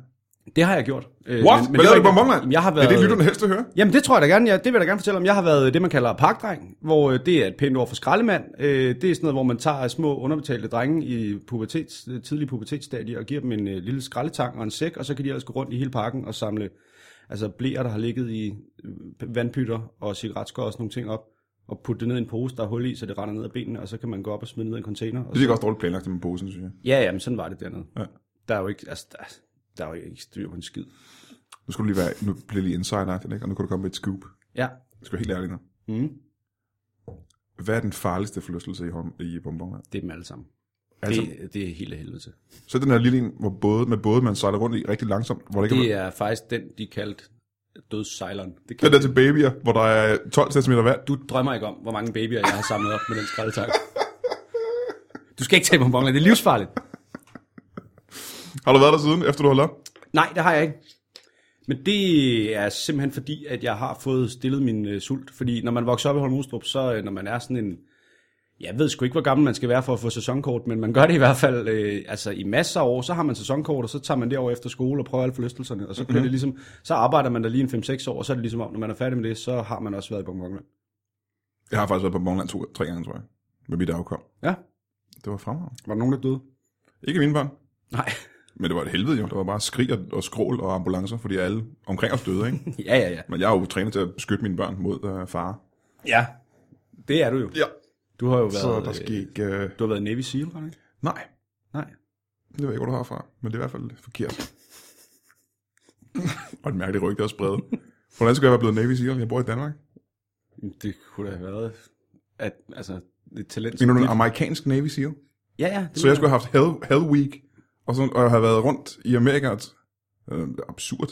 Speaker 2: Det har jeg gjort. Øh,
Speaker 1: What? Hvad
Speaker 2: det
Speaker 1: lavede
Speaker 2: var
Speaker 1: du i
Speaker 2: ikke-
Speaker 1: Bonbonland?
Speaker 2: Jamen, Jeg har været,
Speaker 1: Det er det, lytterne helst vil høre.
Speaker 2: Jamen det tror jeg da gerne, jeg, det vil jeg da gerne fortælle om. Jeg har været øh, det, man kalder parkdreng, hvor øh, det er et pænt ord for skraldemand. Øh, Det er sådan noget, hvor man tager små underbetalte drenge i pubertets, øh, tidlige pubertetsstadie og giver dem en øh, lille skraldetang og en sæk, og så kan de ellers gå rundt i hele parken og samle altså blæer, der har ligget i øh, vandpytter og cigaretskår og sådan nogle ting op, og putte det ned i en pose, der er hul i, så det render ned ad benene, og så kan man gå op og smide ned i en container. Og
Speaker 1: Det virker også dårligt planlagt med posen, synes jeg.
Speaker 2: Ja, jamen sådan var det dernede.
Speaker 1: Ja.
Speaker 2: Der er jo ikke, altså, der, der er jo ikke styr på en skid.
Speaker 1: Nu skal du lige være, nu bliver det lige insider, ikke? og nu kan du komme med et scoop.
Speaker 2: Ja.
Speaker 1: Jeg skal være helt ærlig nu.
Speaker 2: Mm.
Speaker 1: Hvad er den farligste forlystelse i, Holm, i Bonbonland?
Speaker 2: Det er dem alle sammen.
Speaker 1: Altså-
Speaker 2: Altså, det, det er helt af helvede til.
Speaker 1: Så er den her lille en, hvor både, med både man sejler rundt i rigtig langsomt, hvor der ikke
Speaker 2: Det er faktisk den, de kaldte dødssejleren. Det
Speaker 1: Den
Speaker 2: kan,
Speaker 1: der til babyer, hvor der er 12 cm vand.
Speaker 2: du drømmer ikke om, hvor mange babyer, jeg har samlet op med den skraldetak. Du skal ikke tage bonbonland, det er livsfarligt.
Speaker 1: Har du været der siden, efter du holdt op?
Speaker 2: Nej, det har jeg ikke. Men det er simpelthen fordi, at jeg har fået stillet min øh, sult. Fordi når man vokser op i Holm Ostrup, så øh, når man er sådan en... Jeg ved sgu ikke, hvor gammel man skal være for at få sæsonkort, men man gør det i hvert fald øh, altså i masser af år. Så har man sæsonkort, og så tager man derover efter skole og prøver alle forlystelserne. Og så, bliver mm-hmm. det ligesom, så arbejder man der lige en 5-6 år, og så er det ligesom om, når man er færdig med det, så har man også været i Bonbonland.
Speaker 1: Jeg har faktisk været på Bonland to, tre gange, tror jeg. Med mit afkom.
Speaker 2: Ja,
Speaker 1: Det var fremragende.
Speaker 2: var der nogen, der døde?
Speaker 1: Ikke mine børn.
Speaker 2: Nej.
Speaker 1: Men det var et helvede jo. Der var bare skrig og, og skrål og ambulancer, fordi alle omkring os døde, ikke?
Speaker 2: ja, ja, ja.
Speaker 1: Men jeg er jo trænet til at beskytte mine børn mod uh, fare.
Speaker 2: Ja, det er du jo.
Speaker 1: Ja.
Speaker 2: Du har jo været,
Speaker 1: Så der
Speaker 2: øh,
Speaker 1: skik... Uh...
Speaker 2: du har været Navy SEAL, har du ikke?
Speaker 1: Nej,
Speaker 2: Nej.
Speaker 1: det ved jeg ikke, hvor du har fra. Men det er i hvert fald forkert. og et mærkeligt rygte også spredt. Hvordan skulle jeg være blevet Navy Seal? Jeg bor i Danmark.
Speaker 2: Det kunne da have været, at, altså, et talent.
Speaker 1: Men
Speaker 2: som
Speaker 1: du en
Speaker 2: dit-
Speaker 1: amerikansk Navy Seal?
Speaker 2: Ja, ja. Det
Speaker 1: Så jeg skulle have haft Hell, Hell Week, og, sådan, og have været rundt i Amerika. Og t- øh, absurd.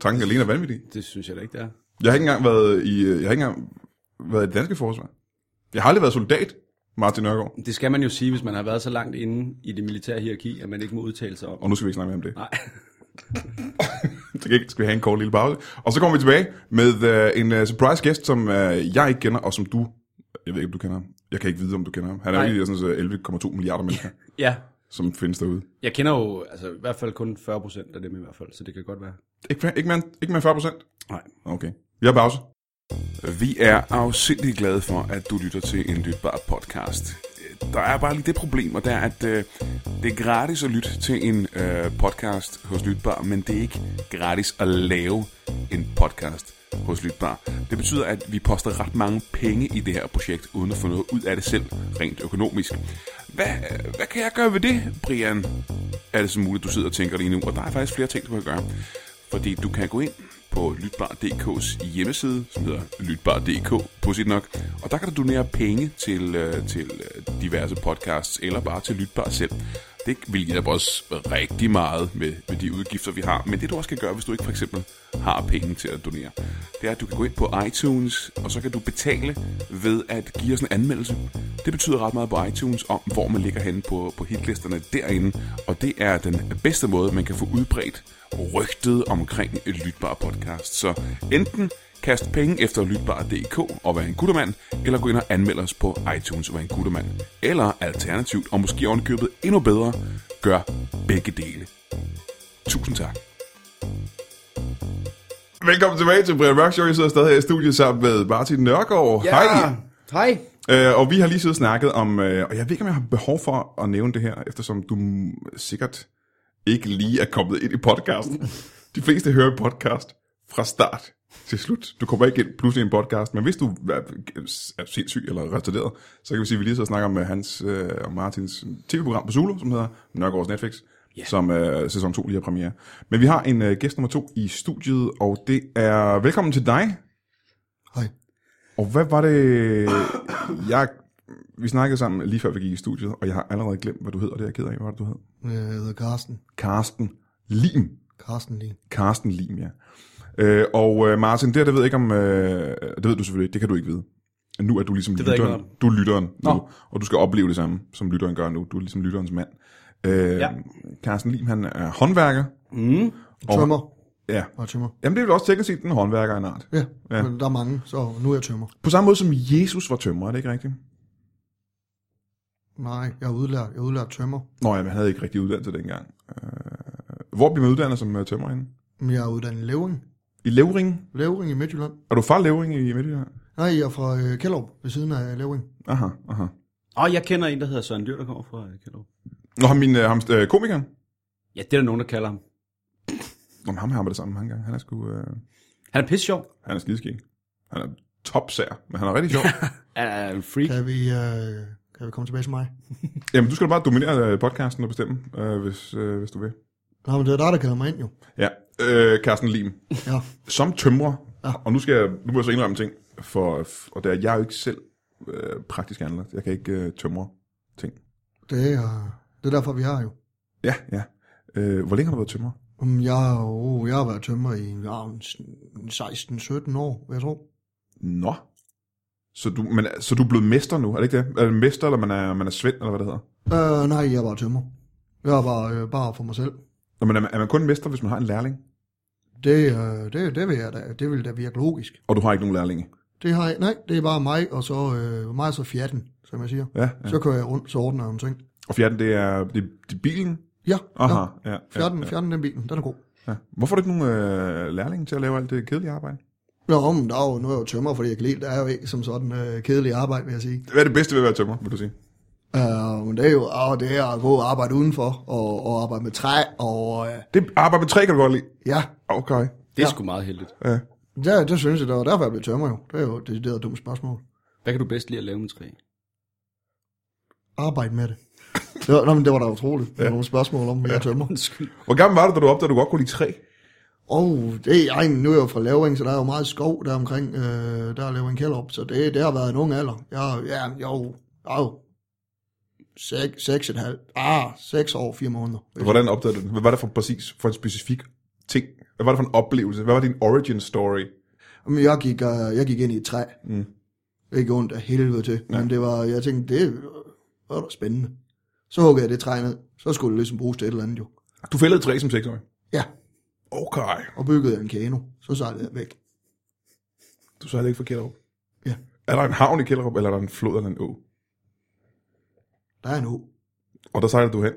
Speaker 1: Tanken alene er vanvittig.
Speaker 2: Det synes jeg da ikke, det er.
Speaker 1: Jeg har ikke engang været i, øh, jeg har ikke engang været i det danske forsvar. Jeg har aldrig været soldat, Martin Nørgaard.
Speaker 2: Det skal man jo sige, hvis man har været så langt inde i det militære hierarki, at man ikke må udtale sig om.
Speaker 1: Og nu skal vi ikke snakke mere om det.
Speaker 2: Nej.
Speaker 1: Til gengæld skal vi have en kort lille pause. Og så kommer vi tilbage med uh, en uh, surprise gæst, som uh, jeg ikke kender, og som du, jeg ved ikke, om du kender ham. Jeg kan ikke vide, om du kender ham. Han er jo
Speaker 2: Nej.
Speaker 1: lige der sådan så øh, 11,2 milliarder mennesker,
Speaker 2: Ja,
Speaker 1: som findes derude.
Speaker 2: jeg kender jo altså, i hvert fald kun 40 procent af dem i hvert fald, så det kan godt være.
Speaker 1: Ikke, ikke, mere, end- ikke mere end 40 procent?
Speaker 2: Nej.
Speaker 1: Okay. Vi har pause.
Speaker 3: Vi er afsindelig glade for, at du lytter til en lytbar podcast. Der er bare lige det problem, og det er, at øh, det er gratis at lytte til en øh, podcast hos Lytbar, men det er ikke gratis at lave en podcast hos Lytbar. Det betyder, at vi poster ret mange penge i det her projekt, uden at få noget ud af det selv, rent økonomisk. Hvad, øh, hvad kan jeg gøre ved det, Brian? Er det så muligt, du sidder og tænker lige nu? Og der er faktisk flere ting, du kan gøre fordi du kan gå ind på Lytbar.dk's hjemmeside, som hedder Lytbar.dk, pudsigt nok, og der kan du donere penge til, øh, til øh, diverse podcasts, eller bare til Lytbar selv. Det vil hjælpe os rigtig meget med, med de udgifter, vi har, men det du også kan gøre, hvis du ikke for eksempel har penge til at donere, det er, at du kan gå ind på iTunes, og så kan du betale ved at give os en anmeldelse. Det betyder ret meget på iTunes om, hvor man ligger henne på, på hitlisterne derinde, og det er den bedste måde, man kan få udbredt rygtet omkring et lytbar podcast. Så enten kast penge efter lytbar.dk og vær en guttermand, eller gå ind og anmeld os på iTunes og vær en guttermand. Eller alternativt, og måske ovenkøbet endnu bedre, gør begge dele. Tusind tak.
Speaker 1: Velkommen tilbage til Brian Mørk Show. Jeg sidder stadig her i studiet sammen med Martin Nørgaard. Hej.
Speaker 2: Hej.
Speaker 1: Øh, og vi har lige siddet og snakket om, øh, og jeg ved ikke, om jeg har behov for at nævne det her, eftersom du m- sikkert ikke lige er kommet ind i podcasten. De fleste hører en podcast fra start til slut. Du kommer ikke ind pludselig i en podcast, men hvis du er, er sindssyg eller retarderet, så kan vi sige, at vi lige sidder og snakker om øh, hans øh, og Martins tv-program på Zulu, som hedder Nørgaards Netflix, yeah. som øh, sæson 2 lige har premiere. Men vi har en øh, gæst nummer to i studiet, og det er velkommen til dig, og hvad var det, jeg... Vi snakkede sammen lige før vi gik i studiet, og jeg har allerede glemt, hvad du hedder, det er jeg ked af. Hvad var det, du hed?
Speaker 4: øh, Jeg hedder Carsten.
Speaker 1: Karsten Lim.
Speaker 4: Carsten lige.
Speaker 1: Karsten Lim, ja. Øh, og øh, Martin, det her, det ved jeg ikke om... Øh, det ved du selvfølgelig ikke, det kan du ikke vide. Nu er du ligesom
Speaker 2: Det ved jeg ikke
Speaker 1: lytteren.
Speaker 2: noget
Speaker 1: Du er lytteren nu,
Speaker 2: Nå.
Speaker 1: og du skal opleve det samme, som lytteren gør nu. Du er ligesom lytterens mand. Øh, ja.
Speaker 2: Ja.
Speaker 1: Karsten Lim, han er håndværker.
Speaker 2: Mm.
Speaker 1: Og-
Speaker 4: Tømmer.
Speaker 1: Ja.
Speaker 4: Og tømmer.
Speaker 1: Jamen, det er vel også teknisk set en håndværker af en art.
Speaker 4: Ja,
Speaker 1: Ja.
Speaker 4: ja, men der er mange, så nu er jeg tømmer.
Speaker 1: På samme måde som Jesus var tømrer, er det ikke rigtigt?
Speaker 4: Nej, jeg er udlært, jeg er udlært tømmer.
Speaker 1: Nå ja, man havde ikke rigtig uddannelse dengang. Øh, hvor blev man uddannet som øh, tømrer henne?
Speaker 4: Men jeg er uddannet i Levering.
Speaker 1: I Levering?
Speaker 4: Levering i Midtjylland.
Speaker 1: Er du fra Levering i Midtjylland?
Speaker 4: Nej, jeg er fra øh, Kjellup, ved siden af Levering.
Speaker 1: Aha, aha.
Speaker 2: Og jeg kender en, der hedder Søren Dyr, der kommer fra øh, Kjellerup.
Speaker 1: Nå, ham, min, øh, ham, øh, komikeren?
Speaker 2: Ja, det er der nogen, der kalder ham.
Speaker 1: Nå, men ham har jeg arbejdet sammen med mange gange. Han er sgu... Øh,
Speaker 2: Han er pisse sjov.
Speaker 1: han er skideskæg. Han er topsær, men han er rigtig sjov.
Speaker 2: Han er en freak.
Speaker 4: Kan vi, øh, kan vi komme tilbage til mig?
Speaker 1: Jamen, du skal da bare dominere øh, podcasten og bestemme, øh, hvis, øh, hvis du vil.
Speaker 4: Nå, men det er dig, der kalder mig ind jo.
Speaker 1: Ja, øh, Carsten Lim.
Speaker 4: Ja,
Speaker 1: Som tømrer, og nu, skal jeg, nu må jeg så indrømme en ting, for, og det er, jeg er jo ikke selv øh, praktisk anlagt. Jeg kan ikke øh, tømre ting.
Speaker 4: det er, det er derfor, vi har jo.
Speaker 1: Ja, ja. Øh, hvor længe har du været tømrer?
Speaker 4: Jamen, Jeg, har jo- jeg har været tømmer i ja, en s- en 16-17 år, vil jeg tro.
Speaker 1: Nå. Så du, men, så du er blevet mester nu, er det ikke det? Er det mester, eller man er, man er svend, eller hvad det hedder?
Speaker 4: Øh, nej, jeg var tømmer. Jeg var øh, bare for mig selv.
Speaker 1: Nå, men er man, er man kun mester, hvis man har en lærling?
Speaker 4: Det, øh, det, det, vil jeg da, det vil da virke logisk.
Speaker 1: Og du har ikke nogen lærlinge?
Speaker 4: Det har jeg, nej, det er bare mig, og så øh, mig og så fjatten, som jeg siger.
Speaker 1: Ja, ja.
Speaker 4: Så kører jeg rundt, så ordner jeg om ting.
Speaker 1: Og fjerten, det er, det, det er bilen?
Speaker 4: Ja,
Speaker 1: Aha,
Speaker 4: ja.
Speaker 1: ja. ja,
Speaker 4: Fjerten,
Speaker 1: ja,
Speaker 4: fjerten den bilen, den er god.
Speaker 1: ja. Hvorfor er der ikke nogen øh, lærlinge til at lave alt det kedelige arbejde?
Speaker 4: Nå, men der er jo, nu er jeg jo tømmer, fordi jeg kan lide, der er jo ikke som sådan øh, kedelig arbejde, vil jeg sige.
Speaker 1: Hvad er det bedste ved at være tømrer, vil du sige?
Speaker 4: Øh, men det er jo åh, det er at gå og arbejde udenfor, og, og arbejde med træ, og øh,
Speaker 1: Det arbejde med træ kan du godt lide.
Speaker 4: ja,
Speaker 1: Okay.
Speaker 2: Det er
Speaker 4: Ja.
Speaker 2: sgu meget heldigt.
Speaker 1: Ja.
Speaker 4: det, det synes jeg, det var derfor, jeg blev tømmer jo. Det er jo et decideret dumt spørgsmål.
Speaker 2: Hvad kan du bedst lide at lave med træ?
Speaker 4: Arbejde med det. det var, nå, men det var da utroligt. Det var nogle spørgsmål om, hvad jeg tømmer.
Speaker 2: Undskyld.
Speaker 1: Hvor gammel var du, da du opdagede, at du godt kunne lide træ?
Speaker 4: Og oh, det er, ej, men nu er jeg jo fra Lavring, så der er jo meget skov der omkring, øh, der er Lavring Kjellop, så det, det har været en ung alder. Jeg, ja, jo, jo, sek, seks et halvt, ah, seks år, fire måneder.
Speaker 1: Hvordan opdagede du det? Hvad var det for præcis for en specifik ting? Hvad var det for en oplevelse? Hvad var din origin story?
Speaker 4: Men jeg gik, øh, jeg gik ind i et træ.
Speaker 1: Mm.
Speaker 4: Ikke ondt af helvede til. Ja. Men det var, jeg tænkte, det var da spændende. Så huggede jeg det træ ned. Så skulle det ligesom bruges til et eller andet jo.
Speaker 1: Du fældede et træ som seksårig?
Speaker 4: Ja,
Speaker 1: Okay.
Speaker 4: og byggede en kano. Så sejlede jeg væk.
Speaker 1: Du sejlede ikke fra Kjellerup?
Speaker 4: Ja.
Speaker 1: Er der en havn i Kjellerup, eller er der en flod eller en å?
Speaker 4: Der er en å.
Speaker 1: Og der sejlede du hen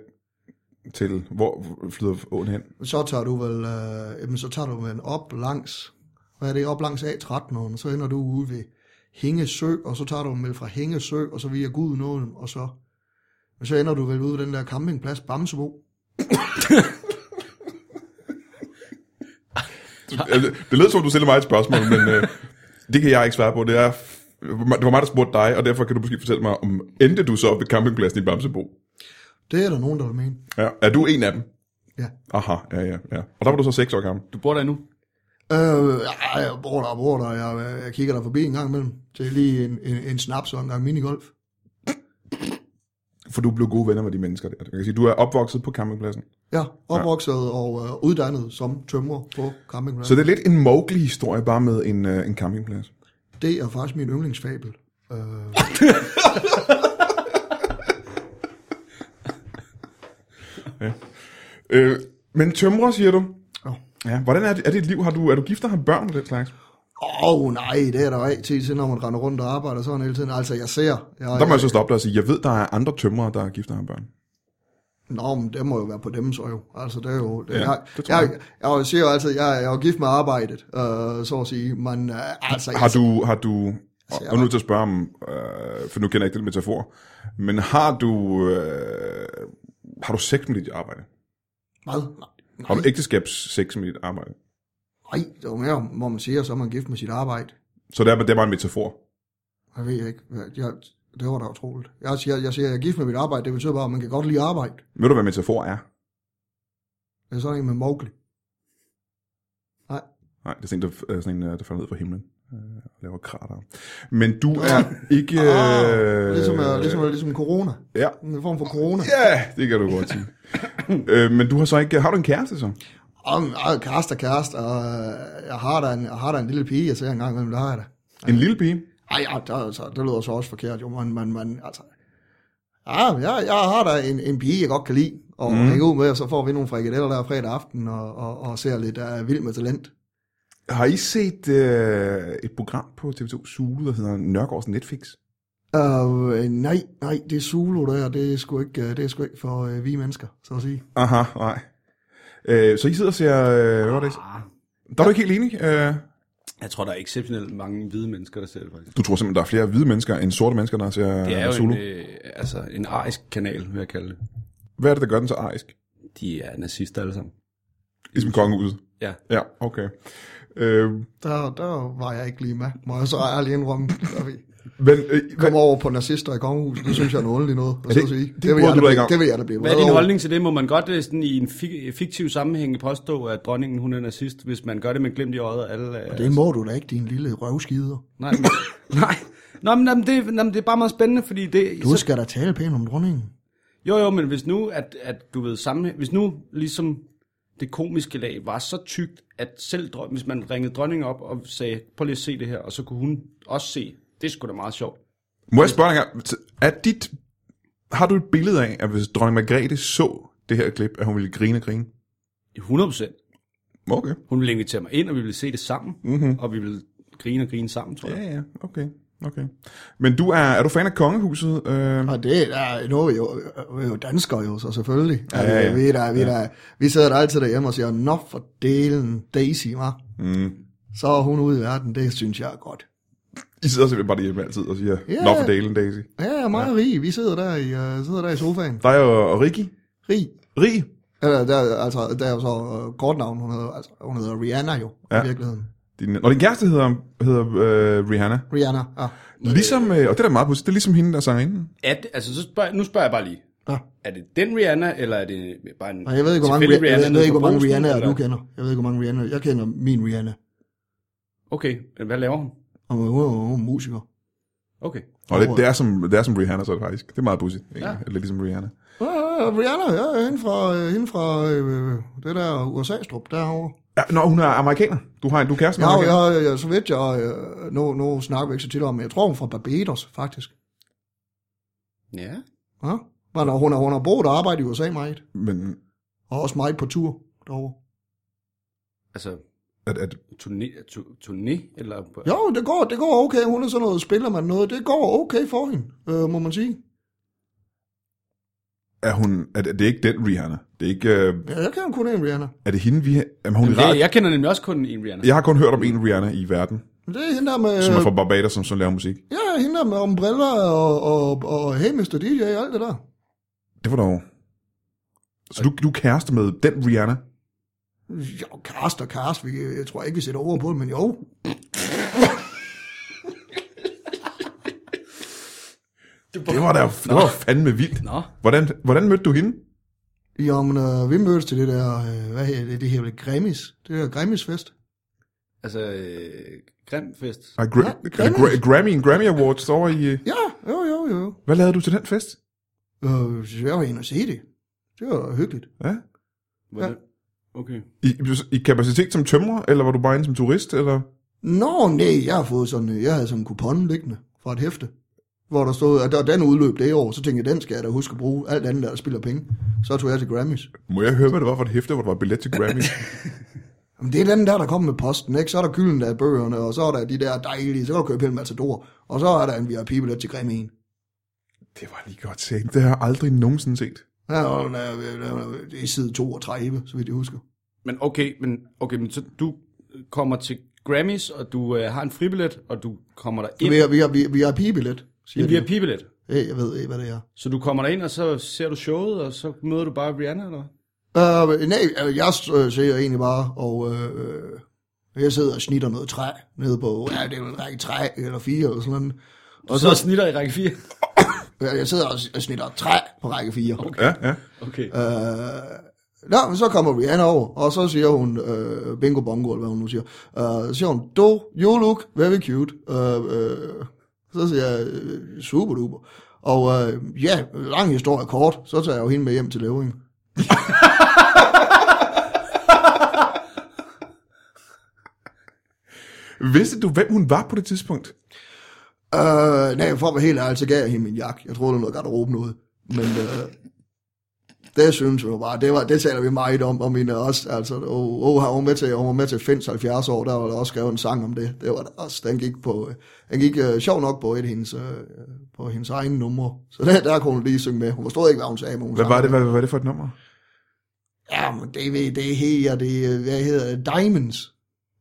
Speaker 1: til, hvor flyder åen hen?
Speaker 4: Så tager du vel, øh, jamen, så tager du vel op langs, hvad er det, op langs A13, og så ender du ude ved Hængesø, og så tager du vel fra Hængesø, og så via Gudenålen, og så, men så ender du vel ude ved den der campingplads Bamsebo.
Speaker 1: Altså, det lød som, du stillede mig et spørgsmål, men øh, det kan jeg ikke svare på. Det, er, det var mig, der spurgte dig, og derfor kan du måske fortælle mig, om endte du så op ved campingpladsen i Bamsebo?
Speaker 4: Det er der nogen, der vil mene.
Speaker 1: Ja. Er du en af dem?
Speaker 4: Ja.
Speaker 1: Aha, ja, ja, ja. Og der var du så seks år gammel.
Speaker 2: Du bor der nu?
Speaker 4: Øh, ej, jeg bor der, jeg bor der, jeg, jeg kigger der forbi en gang imellem. Det er lige en, en, en snaps og en gang minigolf.
Speaker 1: For du blev gode venner med de mennesker der. Jeg kan sige, du er opvokset på campingpladsen.
Speaker 4: Ja, opvokset og øh, uddannet som tømrer på campingpladsen.
Speaker 1: Så det er lidt en Mowgli-historie, bare med en, øh, en campingplads.
Speaker 4: Det er faktisk min yndlingsfabel. Øh,
Speaker 1: Øh, men tømrer, siger du?
Speaker 4: Ja.
Speaker 1: Ja. Hvordan er, det, er dit liv? Har du, er du gift og har børn og den slags?
Speaker 4: Åh, oh, nej, det er der jo altid til, når man render rundt og arbejder sådan hele tiden. Altså, jeg ser... Jeg,
Speaker 1: Der må jeg så stoppe dig og sige, jeg ved, der er andre tømrere, der er gift og har børn.
Speaker 4: Nå, men det må jo være på dem så jo. Altså, det er jo... Det,
Speaker 1: Ja,
Speaker 4: ja, jeg,
Speaker 1: det tror
Speaker 4: jeg, jeg, jeg, siger jo altså, jeg, jeg er jo gift med arbejdet, øh, så at sige. Men øh, altså...
Speaker 1: Har
Speaker 4: Jeg,
Speaker 1: du, har du og,
Speaker 4: jeg
Speaker 1: og nu er jeg nødt til at spørge om, øh, for nu kender jeg ikke den metafor, men har du, øh, har du sex med dit arbejde?
Speaker 4: hvad?
Speaker 1: Har du ægteskabssex med dit arbejde?
Speaker 4: Nej, det er jo mere, hvor man siger, så er man gift med sit arbejde.
Speaker 1: Så det er, det er bare en metafor.
Speaker 4: Jeg ved ikke. hvad- Jeg, det var da utroligt. Jeg siger, jeg siger, jeg er gift med mit arbejde. Det betyder bare, at man kan godt lide arbejde.
Speaker 1: Ved du, hvad metafor er?
Speaker 4: Det er sådan en med Mowgli. Nej.
Speaker 1: Nej, det er sådan en, der, øh, sådan en, øh, der falder ned fra himlen øh, og laver krater. Men du er ikke...
Speaker 4: Ah, ligesom, øh, ligesom, ligesom corona.
Speaker 1: Ja.
Speaker 4: En form for corona.
Speaker 1: ja, det kan du godt sige. øh, men du har så ikke... Har du en kæreste så?
Speaker 4: Om, ej, kæreste og kæreste, og øh, jeg har da en, jeg har da en lille pige, jeg ser engang, hvem der har jeg da.
Speaker 1: En lille pige?
Speaker 4: Ej, ja, der, altså, det lyder så også forkert, jo, men, men, men altså, ja, jeg, jeg har da en, en pige, jeg godt kan lide, og
Speaker 1: Mhm.
Speaker 4: mm. hænge ud med, og så får vi nogle frikadeller der fredag aften, og, og, og ser lidt af vild med talent.
Speaker 1: Har I set øh, et program på TV2 Zulu, der hedder Nørgaards Netflix?
Speaker 4: Uh, nej, nej, det er Zulu der, det er sgu ikke, øh, det er sgu ikke for øh, vi mennesker, så at sige.
Speaker 1: Aha, nej. Øh, så I sidder og ser... Øh, hvad var det?
Speaker 2: Ah.
Speaker 1: Der er du ikke helt enig? Øh,
Speaker 2: Jeg tror, der er exceptionelt mange hvide mennesker, der ser det faktisk.
Speaker 1: du tror simpelthen, der er flere hvide mennesker end sorte mennesker, der ser
Speaker 2: Det er jo
Speaker 1: Zulu.
Speaker 2: en, øh, altså, en arisk kanal, vil jeg kalde det.
Speaker 1: Hvad er det, der gør den så arisk?
Speaker 2: De er nazister alle sammen.
Speaker 1: Ligesom kongehuset.
Speaker 2: Ja.
Speaker 1: Ja, okay. Øh,
Speaker 4: Der, der var jeg ikke lige med, må jeg så ærligt indrømme. Da vi
Speaker 1: men, øh, hvad,
Speaker 4: kom over på nazister i kongehuset, det synes jeg er en ordentlig noget.
Speaker 1: det-
Speaker 4: Det, at sige.
Speaker 1: det
Speaker 4: det, vil
Speaker 1: burde
Speaker 4: jeg
Speaker 1: du
Speaker 4: da
Speaker 1: da ikke
Speaker 4: blive-
Speaker 1: om.
Speaker 4: det vil jeg da blive
Speaker 2: Hvad er
Speaker 4: vred
Speaker 2: din
Speaker 4: over.
Speaker 2: holdning til det? Må man godt øh, sådan i en fik- fiktiv sammenhæng påstå, at dronningen hun er nazist, hvis man gør det med glimt i øjet? og Alle, er-
Speaker 4: Det må du da ikke, din lille røvskider.
Speaker 2: Nej, men, nej. Nå, men, nå, men, det, nå, men det er bare meget spændende, fordi det...
Speaker 4: Du skal da tale pænt om dronningen.
Speaker 2: Jo, jo, men hvis nu, at, at du ved sammen, hvis nu ligesom det komiske lag var så tykt, at selv drøm, hvis man ringede dronningen op og sagde, prøv lige at se det her, og så kunne hun også se, det skulle da meget sjovt.
Speaker 1: må jeg spørge dig en gang, er dit, har du et billede af, at hvis dronning Margrethe så det her klip, at hun ville grine og grine?
Speaker 2: 100 procent.
Speaker 1: Okay.
Speaker 2: Hun ville invitere mig ind, og vi ville se det sammen,
Speaker 4: Mhm.
Speaker 2: mm-hmm. og vi ville grine og grine sammen, tror jeg.
Speaker 1: Ja, ja, okay. okay. Men du er, er du fan af kongehuset? Øh,
Speaker 4: Og det er, nu er vi jo, vi er jo danskere jo, så selvfølgelig. Ja,
Speaker 1: ja,
Speaker 4: ja,
Speaker 1: ja.
Speaker 4: ja. Vi, er der, vi, er der, vi sidder der altid derhjemme og siger, nå for delen Daisy, var. Mm. Så er hun ude i verden, det synes jeg er godt.
Speaker 1: I sidder simpelthen bare derhjemme altid og siger,
Speaker 4: Ja.
Speaker 1: yeah. love for dalen, Daisy.
Speaker 4: Ja, mig og Rig, vi sidder der i, uh, sidder der i sofaen.
Speaker 1: Dig og, og Ricky?
Speaker 4: Rig,
Speaker 1: Rig?
Speaker 4: eller der, altså, der er jo så uh, godt navn, hun hedder, altså, hun hedder Rihanna jo,
Speaker 1: Ja.
Speaker 4: ja. i virkeligheden.
Speaker 1: Din, når din kæreste hedder, hedder øh, Rihanna.
Speaker 4: Rihanna, ja.
Speaker 1: Ligesom, øh, og det er da meget positivt, det er ligesom hende, der sanger inden.
Speaker 2: Er det, altså, så spørg, nu spørger jeg bare lige.
Speaker 4: ja.
Speaker 2: Er det den Rihanna, eller er det bare en
Speaker 4: Og jeg ved ikke, hvor mange,
Speaker 2: tilfældig
Speaker 4: Rihanna, jeg ved, jeg ved
Speaker 2: nede
Speaker 4: ikke, hvor
Speaker 2: fra
Speaker 4: mange
Speaker 2: Brugsen,
Speaker 4: Rihannaer
Speaker 2: eller-
Speaker 4: du kender. Jeg ved ikke, hvor mange Rihanna. Jeg kender min Rihanna,
Speaker 2: Okay, men hvad laver hun?
Speaker 4: og hun er- hun er musiker.
Speaker 2: Okay.
Speaker 1: Og det, det, er som, det er som Rihanna, så er det faktisk. Det er meget pudsigt, ja.
Speaker 2: Ja.
Speaker 1: Eller ligesom Rihanna.
Speaker 4: Ja, ja, Rihanna, ja, hende fra, øh, hende fra øh, det der USA-strup derovre.
Speaker 1: Ja, når hun er amerikaner. Du har en, du er kæresten
Speaker 4: Ja,
Speaker 1: med amerikaner.
Speaker 4: ja, ja, ja, så vidt jeg, øh, nu, nu snakker vi ikke så tit om, men jeg tror, hun er fra Barbados, faktisk.
Speaker 2: Ja.
Speaker 4: Ja? Men hun har, hun har boet og arbejdet i USA meget,
Speaker 1: Men
Speaker 4: og også meget på tur derovre.
Speaker 2: Altså,
Speaker 1: at, at,
Speaker 2: turné, tu- turné eller...
Speaker 4: Jo, det går, det går okay, hun er sådan noget, spiller man noget, det går okay for hende, øh, må man sige.
Speaker 1: er hun, at, at det er ikke den Rihanna. Det er ikke, øh,
Speaker 4: Ja, jeg kan kun en Rihanna.
Speaker 1: er det hende, vi har... Jamen, hun er
Speaker 2: Det,
Speaker 1: rar.
Speaker 2: jeg kender nemlig også kun en Rihanna.
Speaker 1: Jeg har kun hørt om en Rihanna i verden,
Speaker 4: Men Det er hende der med,
Speaker 1: som er
Speaker 4: øh,
Speaker 1: fra Barbados, som, som laver musik.
Speaker 4: ja, hende der med ombriller og, og, og Hey Mr. DJ og alt det der.
Speaker 1: Det var dog... Så du, du er kæreste med den Rihanna?
Speaker 4: Jo, kæreste og kæreste, vi, jeg tror ikke, vi sætter ord på det, men jo,
Speaker 1: Det var da det var fandme vildt.
Speaker 2: Nå.
Speaker 1: Hvordan, hvordan mødte du hende?
Speaker 4: Jamen, øh, vi mødtes til det der, øh, hvad hedder det, det her Grammys, det der Grammys-fest.
Speaker 2: Altså, øh, Grimfest.
Speaker 1: Ej, gra-
Speaker 4: Ja,
Speaker 1: gra- gra- Grammy, Grammy Awards over i... øh,
Speaker 4: Ja, jo, jo, jo.
Speaker 1: Hvad lavede du til den fest?
Speaker 4: Øh, så jeg var inde og se det. Det var hyggeligt.
Speaker 1: Ja?
Speaker 2: Var
Speaker 4: Ja.
Speaker 2: det? Okay.
Speaker 1: I, I kapacitet som tømrer, eller var du bare inde som turist, eller?
Speaker 4: Nå, nej, jeg har fået sådan, øh, jeg havde sådan en kupon liggende fra et hæfte, hvor der stod, at der den udløb det år, så tænkte jeg, den skal jeg da huske at bruge, alt andet, der, der spiller penge. Så tog jeg til Grammys.
Speaker 1: Må jeg høre, hvad det var for et hæfte, hvor der var billet til Grammy?
Speaker 4: Jamen, det er den der, der kommer med posten, ikke? Så er der gylden der i bøgerne, og så er der de der dejlige, så kan du købe hele Matador, og så er der en VIP-billet til Grammy'en.
Speaker 1: det var lige godt set. Det har jeg aldrig nogensinde set.
Speaker 4: Ja, og der, der, der, det er side 32, så vidt jeg husker.
Speaker 2: Men okay, men, okay, men så du kommer til Grammys, og du øh, har en fribillet, og du kommer der ind.
Speaker 4: Vi har, vi har, vi har, vi har pigebillet, siger
Speaker 2: En
Speaker 4: de.
Speaker 2: VIP-billet.
Speaker 4: Hey, jeg ved ikke, hvad det er.
Speaker 2: Så du kommer der ind, og så ser du showet, og så møder du bare Rihanna, eller hvad?
Speaker 4: Uh, nej, øh, jeg øh, ser egentlig bare, og uh, jeg sidder og snitter noget træ nede på, ja, det er jo en række træ, eller fire, eller sådan noget.
Speaker 2: Og så snitter i række 4.
Speaker 4: Øh, Jeg sidder og s- og snitter træ på række fire. Okay.
Speaker 1: Ja, ja.
Speaker 2: Okay.
Speaker 1: Øh.
Speaker 4: Uh, Nå, men så kommer Rihanna over, og så siger hun, øh, bingo bongo, eller hvad hun nu siger, øh, så siger hun, do, you look very cute. Øh, øh, så siger jeg, øh, super duper. Og øh, ja, lang historie kort, så tager jeg jo hende med hjem til Løving.
Speaker 1: Vidste du, hvem hun var på det tidspunkt?
Speaker 4: Øh, nej, for at være helt ærlig, så gav jeg hende min jakke. Jeg troede, det var noget garderobe noget. Men øh, Det synes jeg jo bare, det, var, det taler vi meget om, og mine også, altså, og, og har hun med til, hun var med til Fins 70 år, der var der også skrevet en sang om det, det var der også, den gik på, øh, den gik øh, sjov nok på et af hendes, øh, på hendes egen numre, så der, der kunne hun lige synge med, hun forstod ikke, hvad hun sagde, men hun
Speaker 1: Hvad
Speaker 4: sang
Speaker 1: var det,
Speaker 4: med.
Speaker 1: hvad, hvad var det for et nummer?
Speaker 4: Ja, men det ved det her, det, øh, hvad hedder det, Diamonds.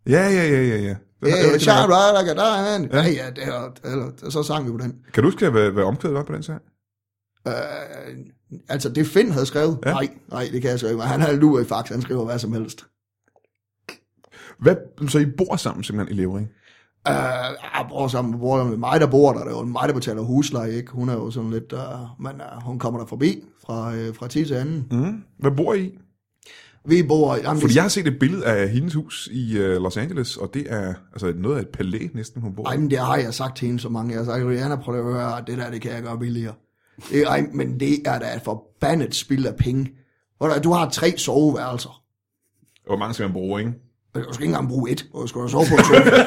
Speaker 1: Ja, ja, ja, ja, ja. Det,
Speaker 4: Ja,
Speaker 1: det var
Speaker 4: ja,
Speaker 1: ikke noget.
Speaker 4: shout out, like a diamond. Ja, ja, det var, eller, så sang vi på den.
Speaker 1: kan du huske, hvad, hvad omkvædet var på den sang?
Speaker 4: Øh, altså, det Finn havde skrevet?
Speaker 1: Ja.
Speaker 4: Ja. Nej, nej, det kan jeg så ikke. men Han har lur i fax, han skriver hvad som helst.
Speaker 1: Hvad, så I bor sammen simpelthen i Levering?
Speaker 4: Øh, jeg bor sammen bor sammen med mig, der bor der. Det er jo mig, der betaler husleje, ikke? Hun er jo sådan lidt... Øh, men øh, hun kommer der forbi fra, øh, fra tid til anden.
Speaker 1: Mm. Hvad bor I? i?
Speaker 4: Vi bor... Jamen,
Speaker 1: Fordi
Speaker 4: det-
Speaker 1: jeg har set et billede af hendes hus i øh, Los Angeles, og det er altså noget af et palæ næsten, hun bor
Speaker 4: Ej,
Speaker 1: i.
Speaker 4: men det har jeg sagt til hende så mange. Jeg har sagt, Rihanna, prøv lige at høre, det der, det kan jeg gøre billigere. Det, ej, men det er da et forbandet spild af penge. Hvor der- Du har tre soveværelser.
Speaker 1: Hvor mange skal man bruge, ikke?
Speaker 4: Men Du skal ikke engang bruge et. Du skal da sove på en sofa.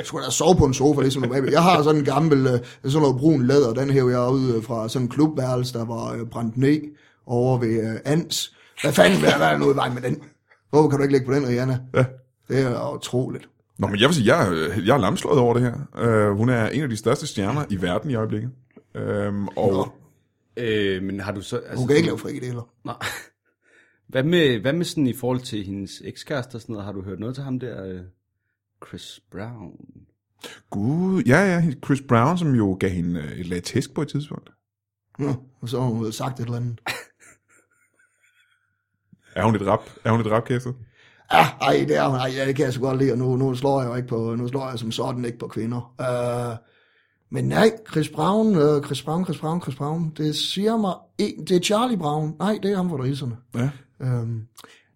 Speaker 4: Du skal da sove på en sofa, ligesom du Jeg har sådan en gammel, øh, sådan noget brun læder, den hæver jeg ud øh, fra sådan en klubværelse, der var øh, brændt ned over ved øh, Ans. Hvad fanden hvad hvad er der nu i vejen med den? Hvorfor kan du ikke lægge på den, Rihanna?
Speaker 1: Ja.
Speaker 4: Det er utroligt.
Speaker 1: Nå, men jeg vil sige, jeg, er- jeg er lamslået over det her. Uh, hun er en af de største stjerner i verden i øjeblikket. Øhm, og
Speaker 4: Nå,
Speaker 2: Øh, men har du så... Altså,
Speaker 4: hun kan ikke lave frikadeller.
Speaker 2: Nej. Hvad med, hvad med sådan i forhold til hendes ekskæreste og sådan noget? Har du hørt noget til ham der? øh, Chris Brown.
Speaker 1: gud, ja, ja, Chris Brown, som jo gav hende øh, et lag tæsk på et tidspunkt.
Speaker 4: Nå, og så har hun vel sagt et eller andet.
Speaker 1: Er hun lidt rap? Er hun lidt rapkæftet?
Speaker 4: Ah, ej, det er hun. Ej, ja, det kan jeg så godt lide, og nu, nu slår jeg jo ikke på, nu slår jeg som sådan ikke på kvinder. Uh, men nej, Chris Brown, uh, Chris Brown, Chris Brown, Chris Brown, det siger mig, ikke- det er Charlie Brown. Nej, det er ham for riserne.
Speaker 1: Ja.
Speaker 4: Øhm,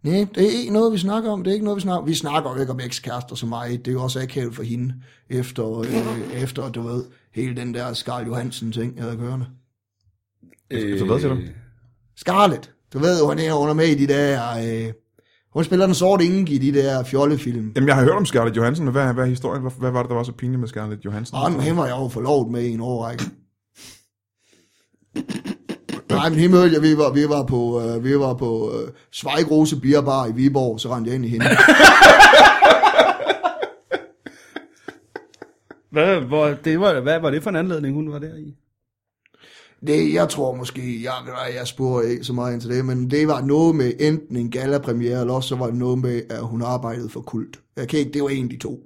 Speaker 4: nej, det er ikke noget, vi snakker om. Det er ikke noget, vi snakker om. Vi snakker jo ikke om ekskærester så meget. Det er jo også akavet for hende, efter, øh, efter du ved, hele den der Scarlett Johansen-ting, jeg havde kørende.
Speaker 2: Øh,
Speaker 1: så Altså, hvad siger du?
Speaker 4: Scarlett, du ved, hun er under med i de der... Øh, hun spiller den sorte enke i de der fjollefilm.
Speaker 1: Jamen, jeg har hørt om Scarlett Johansson, men hvad, hvad er historien? Hvad, hvad var det, der var så pinligt med Scarlett Johansson?
Speaker 4: Og han, var jeg jo forlovet med i en årrække. Nej, men hende mødte jeg, vi var, vi var på, øh, vi var på øh, Svejgrose Bierbar i Viborg, så rendte jeg ind i hende.
Speaker 2: Hvad, hvor, det var, hvad var det for en anledning, hun var der i?
Speaker 4: Det, jeg tror måske, jeg, nej, jeg spurgte ikke så meget ind til det, men det var noget med enten en gallapremiere, eller også så var det noget med, at hun arbejdede for kult. Jeg kan ikke, det var en af de to.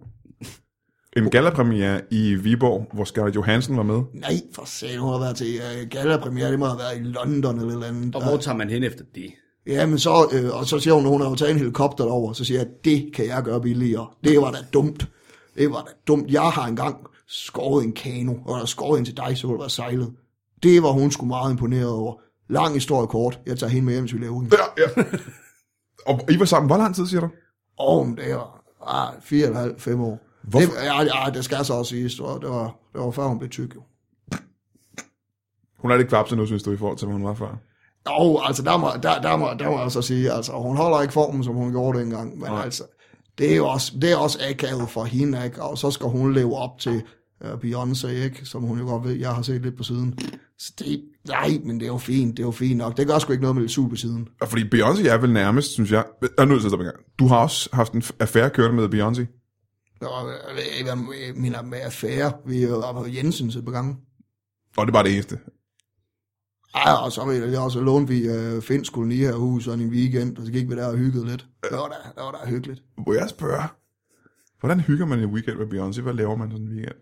Speaker 1: En gallapremiere i Viborg, hvor Scarlett Johansson var med.
Speaker 4: Nej, for satan, hun har været til øh, gallapremiere, det må have været i London eller et eller andet.
Speaker 2: Og
Speaker 1: Øh.
Speaker 2: hvor tager man hen efter det?
Speaker 4: Ja, men så, øh, og så siger hun, at hun har jo taget en helikopter over, så siger jeg, det kan jeg gøre billigere. Det var da dumt. Det var da dumt. Jeg har engang skåret en kano, og der skåret ind til dig, så du var sejlet. Det var hun sgu meget imponeret over. Lang historie kort. Jeg tager hende med hjem til Løven.
Speaker 1: Ja, ja. og I var sammen, hvor lang tid, siger du?
Speaker 4: Og om det var ah, fire og en halv, fem år.
Speaker 1: Hvorfor?
Speaker 4: Det, ja, ja, det skal så også siges. Det var, det var, det var før hun blev tyk, jo.
Speaker 1: Hun er lidt kvapset nu, synes du, i forhold til, hvad hun var før.
Speaker 4: Jo, altså der må, der, der, må, der må jeg så sige, altså hun holder ikke formen, som hun gjorde dengang, men
Speaker 1: Nej.
Speaker 4: altså, det er jo også, det er også akavet for hende, ikke? og så skal hun leve op til uh, Beyoncé, ikke? som hun jo godt ved, jeg har set lidt på siden. Så det, nej, men det er jo fint, det er jo fint nok. Det gør sgu ikke noget med lidt sur på siden.
Speaker 1: Og fordi Beyoncé er vel nærmest, synes jeg... Jeg er nødt til at stoppe en gang. Du har også haft en f- affære kørende med Beyoncé.
Speaker 4: Og øh, jeg ved ikke, hvad øh, jeg mener med affære, vi øh, var på Jensens et par gange.
Speaker 1: Og det var det eneste.
Speaker 4: Ej, og så, ved jeg, også lånte vi øh, Finsk koloni her hus sådan en weekend, og så gik vi der og hyggede lidt. Det var da, det var da hyggeligt.
Speaker 1: Må jeg spørge? Hvordan hygger man en weekend med Beyoncé? Hvad laver man sådan en weekend?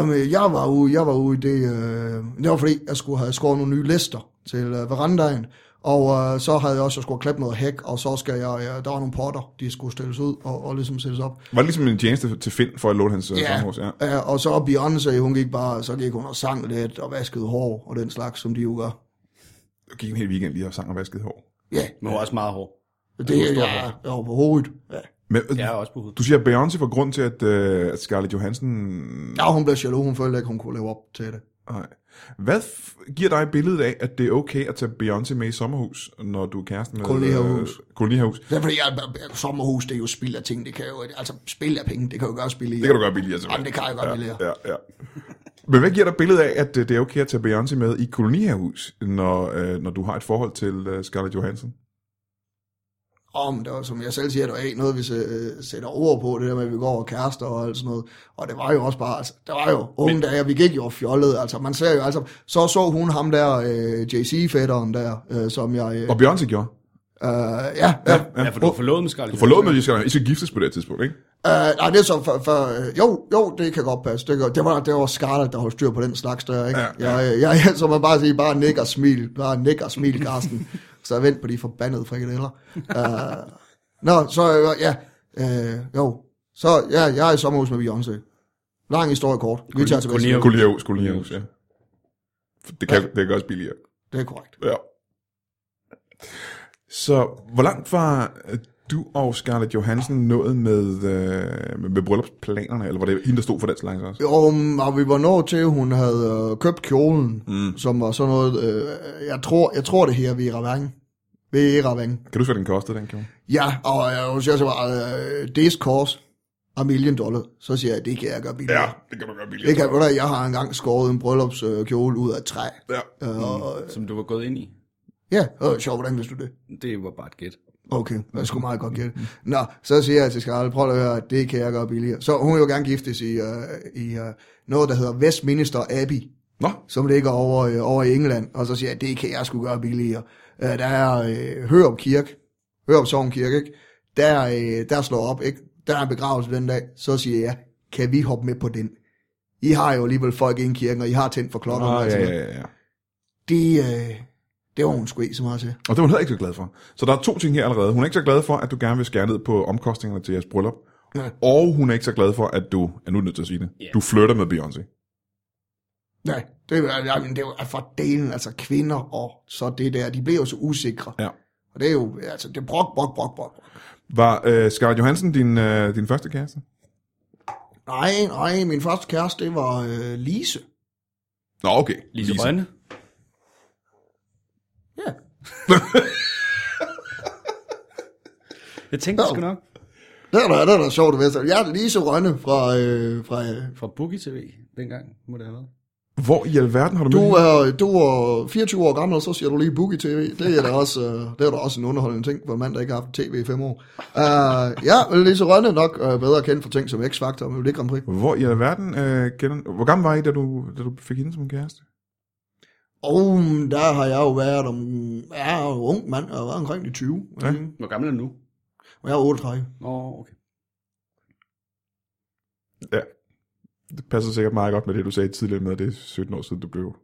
Speaker 4: Um, jeg var ude, jeg var ude i det, øh, det var fordi, jeg skulle have skåret nogle nye lister til øh, verandaen, og øh, så havde jeg også, jeg skulle klippe noget hæk, og så skal jeg, øh, der var nogle potter, de skulle stilles ud og, og ligesom sættes op.
Speaker 1: Var det ligesom en tjeneste til Finn for at låne hans yeah.
Speaker 4: Ja.
Speaker 1: sommerhus? Ja.
Speaker 4: Ja, og så Beyoncé, hun gik bare, så gik hun og sang lidt, og vaskede hår, og den slags, som de jo gør.
Speaker 1: Jeg gik en hel weekend lige og sang og vasket hår.
Speaker 4: Ja,
Speaker 2: Men hun er også meget hård.
Speaker 4: det er jeg, jeg var på hovedet. Ja.
Speaker 1: Men,
Speaker 2: Jeg er
Speaker 1: ja.
Speaker 2: også på hovedet.
Speaker 1: Du siger, at Beyoncé var grund til, at, øh, at Scarlett Johansson...
Speaker 4: ja, hun blev jaloux, hun følte ikke, hun kunne leve op til det.
Speaker 1: Nej. Hvad f- giver dig billedet af, at det er okay at tage Beyoncé med i sommerhus, når du er kæresten med...
Speaker 4: Kolonihavehus.
Speaker 1: Øh, kolonihavehus.
Speaker 4: Det er fordi, jeg, jeg, sommerhus, det er jo spild af ting, det kan jo, altså spild af penge, det kan jo gøre spild i.
Speaker 1: Det kan du gøre billigere,
Speaker 4: Jamen, det kan jeg godt
Speaker 1: ja,
Speaker 4: billigere.
Speaker 1: Ja, ja. Men hvad giver dig billedet af, at øh, det er okay at tage Beyoncé med i kolonihavhus, når, øh, når du har et forhold til øh, Scarlett Johansson?
Speaker 4: Om det var, som jeg selv siger, der er ikke noget, vi øh, sætter ord på, det der med, at vi går og kærester og alt sådan noget. Og det var jo også bare, altså, det var jo unge Men... dage, og vi gik jo og fjollede, altså man ser jo, altså, så så hun ham der, øh, JC-fætteren der, øh, som jeg, øh,
Speaker 1: Og Beyoncé gjorde.
Speaker 4: øh, ja, ja,
Speaker 2: Ja, for du var forlovet med Scarlett.
Speaker 1: Du forlod med, at I skal, I skal giftes på det her tidspunkt, ikke?
Speaker 4: Øh, nej, det er så for, for, øh, jo, jo, det kan godt passe. Det, kan, det, var, det var Scarlett, der holdt styr på den slags der, ikke?
Speaker 1: Ja, ja.
Speaker 4: Jeg, jeg, jeg, så man bare sige, bare nik og smil, bare nik og smil, Carsten. så vent på de forbandede frikadeller. øh, nå, så, øh, ja, øh, jo. Så, ja, jeg er i sommerhus med Beyoncé. Lang historie kort. Vi tager til Vestjylland.
Speaker 1: Kolonihavhus, kolonihavhus, ja. Det kan, det kan også billigere.
Speaker 4: Det er korrekt.
Speaker 1: Ja. Så hvor langt var øh, du og Scarlett Johansen nået med, øh, med, med bryllupsplanerne, eller var det hende, der stod for den slags også?
Speaker 4: Jo, mm, og vi var nået til, at hun havde øh, købt kjolen, mm. som var sådan noget, øh, jeg, tror, jeg tror det her, vi er i Ravang. Vi er i Ravang.
Speaker 1: Kan du huske, hvad den kostede, den kjole?
Speaker 4: Ja, og øh, hun siger så bare, øh, this course a million dollar. Så siger jeg, det kan jeg gøre billigere. Ja,
Speaker 1: det kan du gøre billigere.
Speaker 4: det kan jeg, jeg har engang skåret en bryllupskjole ud af et træ.
Speaker 1: Ja.
Speaker 4: Øh, og,
Speaker 2: Som du var gået ind i.
Speaker 4: ja, øh, sjovt, hvordan vidste du det?
Speaker 2: Det var bare et gæt.
Speaker 4: Okay, jeg skulle meget godt gætte. Nå, så siger jeg til Scarlett, prøv at høre, det kan jeg gøre billigere. Så hun vil jo gerne giftes i, øh, i øh, noget, der hedder Westminster Abbey.
Speaker 1: Nå,
Speaker 4: som ligger over, øh, over i England, og så siger jeg, det kan jeg sgu gøre billigere. Øh, der er øh, Hørup Kirke, Hørup Sogn Kirke, ikke? Der, øh, der slår op, ikke? der er en begravelse den dag, så siger jeg, kan vi hoppe med på den? I har jo alligevel folk inde i kirken, og I har tændt for klokken.
Speaker 1: ah, ja, ja, ja, ja.
Speaker 4: Det, øh, det var hun sgu ikke så meget til.
Speaker 1: Og det var hun heller ikke så glad for. Så der er to ting her allerede. Hun er ikke så glad for, at du gerne vil skære ned på omkostningerne til jeres bryllup.
Speaker 4: Ja.
Speaker 1: Og hun er ikke så glad for, at du, er nu nødt til at sige det, du flytter med Beyoncé.
Speaker 4: Nej, det, var- jamen, det var for delen, altså kvinder og så det der, de blev jo så usikre.
Speaker 1: Ja.
Speaker 4: Og det er jo, altså, det er brok, brok, brok, brok.
Speaker 1: Var øh, Scarlett Johansen din, øh, din første kæreste?
Speaker 4: Nej, nej, min første kæreste, det var øh, Lise.
Speaker 1: Nå, okay.
Speaker 2: Lise Rønne.
Speaker 4: Ja,
Speaker 2: Jeg tænkte sgu nok.
Speaker 4: Det er da, det er da sjovt, hvis jeg er Lise Rønne fra... Øh, fra øh.
Speaker 2: Fra Boogie TV dengang, må det have været.
Speaker 1: Hvor i alverden har du,
Speaker 4: Du,
Speaker 1: mødt hende?
Speaker 4: er, du er 24 år gammel, og så siger du lige Boogie TV. Det er da også, øh, det er da også en underholdende ting for en mand, der ikke har haft tv i fem år. Uh, ja, Lise Rønne er nok øh, bedre kendt for ting som X-Factor, men det Grand Prix.
Speaker 1: Hvor i alverden øh, kender Hvor gammel var I, da du, da du fik hende som kæreste?
Speaker 4: Og der har jeg jo været om... Jeg er jo ung mand, jeg har været omkring de 20. Ja.
Speaker 2: Hvor gammel er du nu?
Speaker 4: Og jeg er 38.
Speaker 2: Nå, oh, okay.
Speaker 1: Ja. Det passer sikkert meget godt med det, du sagde tidligere med, at det er 17 år siden, du blev.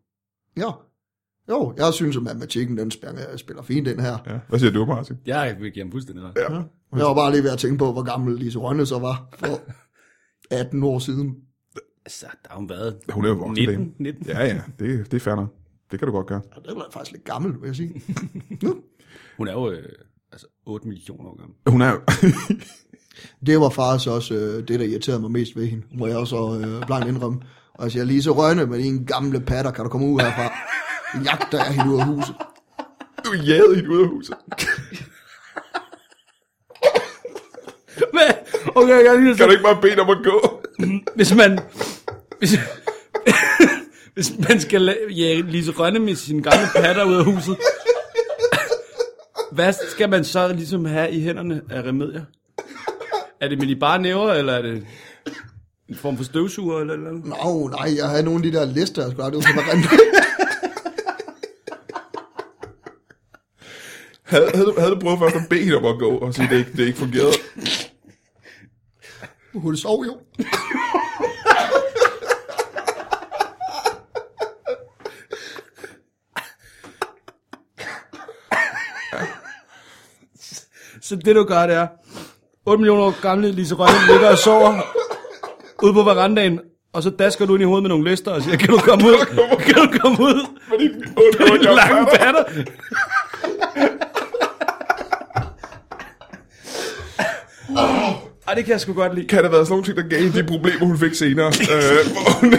Speaker 4: Ja. Jo, jeg synes, at matematikken den spiller, spiller fint den her.
Speaker 1: Ja. Hvad siger du, Martin?
Speaker 2: Jeg vil give ham fuldstændig ret.
Speaker 1: Ja.
Speaker 4: Jeg var bare lige ved at tænke på, hvor gammel Lise Rønne så var for 18 år siden.
Speaker 2: Altså, der har hun været
Speaker 1: Hun er jo voksen.
Speaker 2: 19,
Speaker 1: dame.
Speaker 2: 19.
Speaker 1: Ja, ja. Det, det er fair nok. Det kan du godt gøre.
Speaker 4: Og det var faktisk lidt gammel, vil jeg sige.
Speaker 2: Hun er jo øh, altså 8 millioner år gammel.
Speaker 1: Hun er jo...
Speaker 4: Det var faktisk også øh, det, der irriterede mig mest ved hende, må jeg også øh, blankt indrømme. Og jeg siger, Lise Rønne med dine gamle patter, kan du komme ud herfra? Jeg Jagter jeg hende ud af huset.
Speaker 1: du jagede hende ud af huset.
Speaker 2: Hvad? Okay, jeg kan lige
Speaker 1: Kan du ikke bare bede dem om at gå?
Speaker 2: hvis man... Hvis, hvis man skal la- jage Lise Rønne med sine gamle patter ud af huset, hvad skal man så ligesom have i hænderne af remedier? Er det med de bare næver, eller er det en form for støvsuger, eller et eller andet?
Speaker 4: Nå, nej, jeg havde nogle af de der lister, jeg skulle have, det var så rent.
Speaker 1: Havde, havde, du, havde du prøvet først at bede hende om at gå, og sige, det ikke, det ikke fungerede?
Speaker 4: Hun sov jo.
Speaker 2: Så det du gør, det er, 8 millioner år gamle Lise Rønne ligger og sover ude på verandaen, og så dasker du ind i hovedet med nogle lister og siger, kan du komme ud? Kan du komme ud?
Speaker 1: Fordi hun var
Speaker 2: Dine lange patter. Ej, det kan jeg sgu godt lide.
Speaker 1: Kan der være sådan nogle ting, der gav hende de problemer, hun fik senere? øh, hvor hun...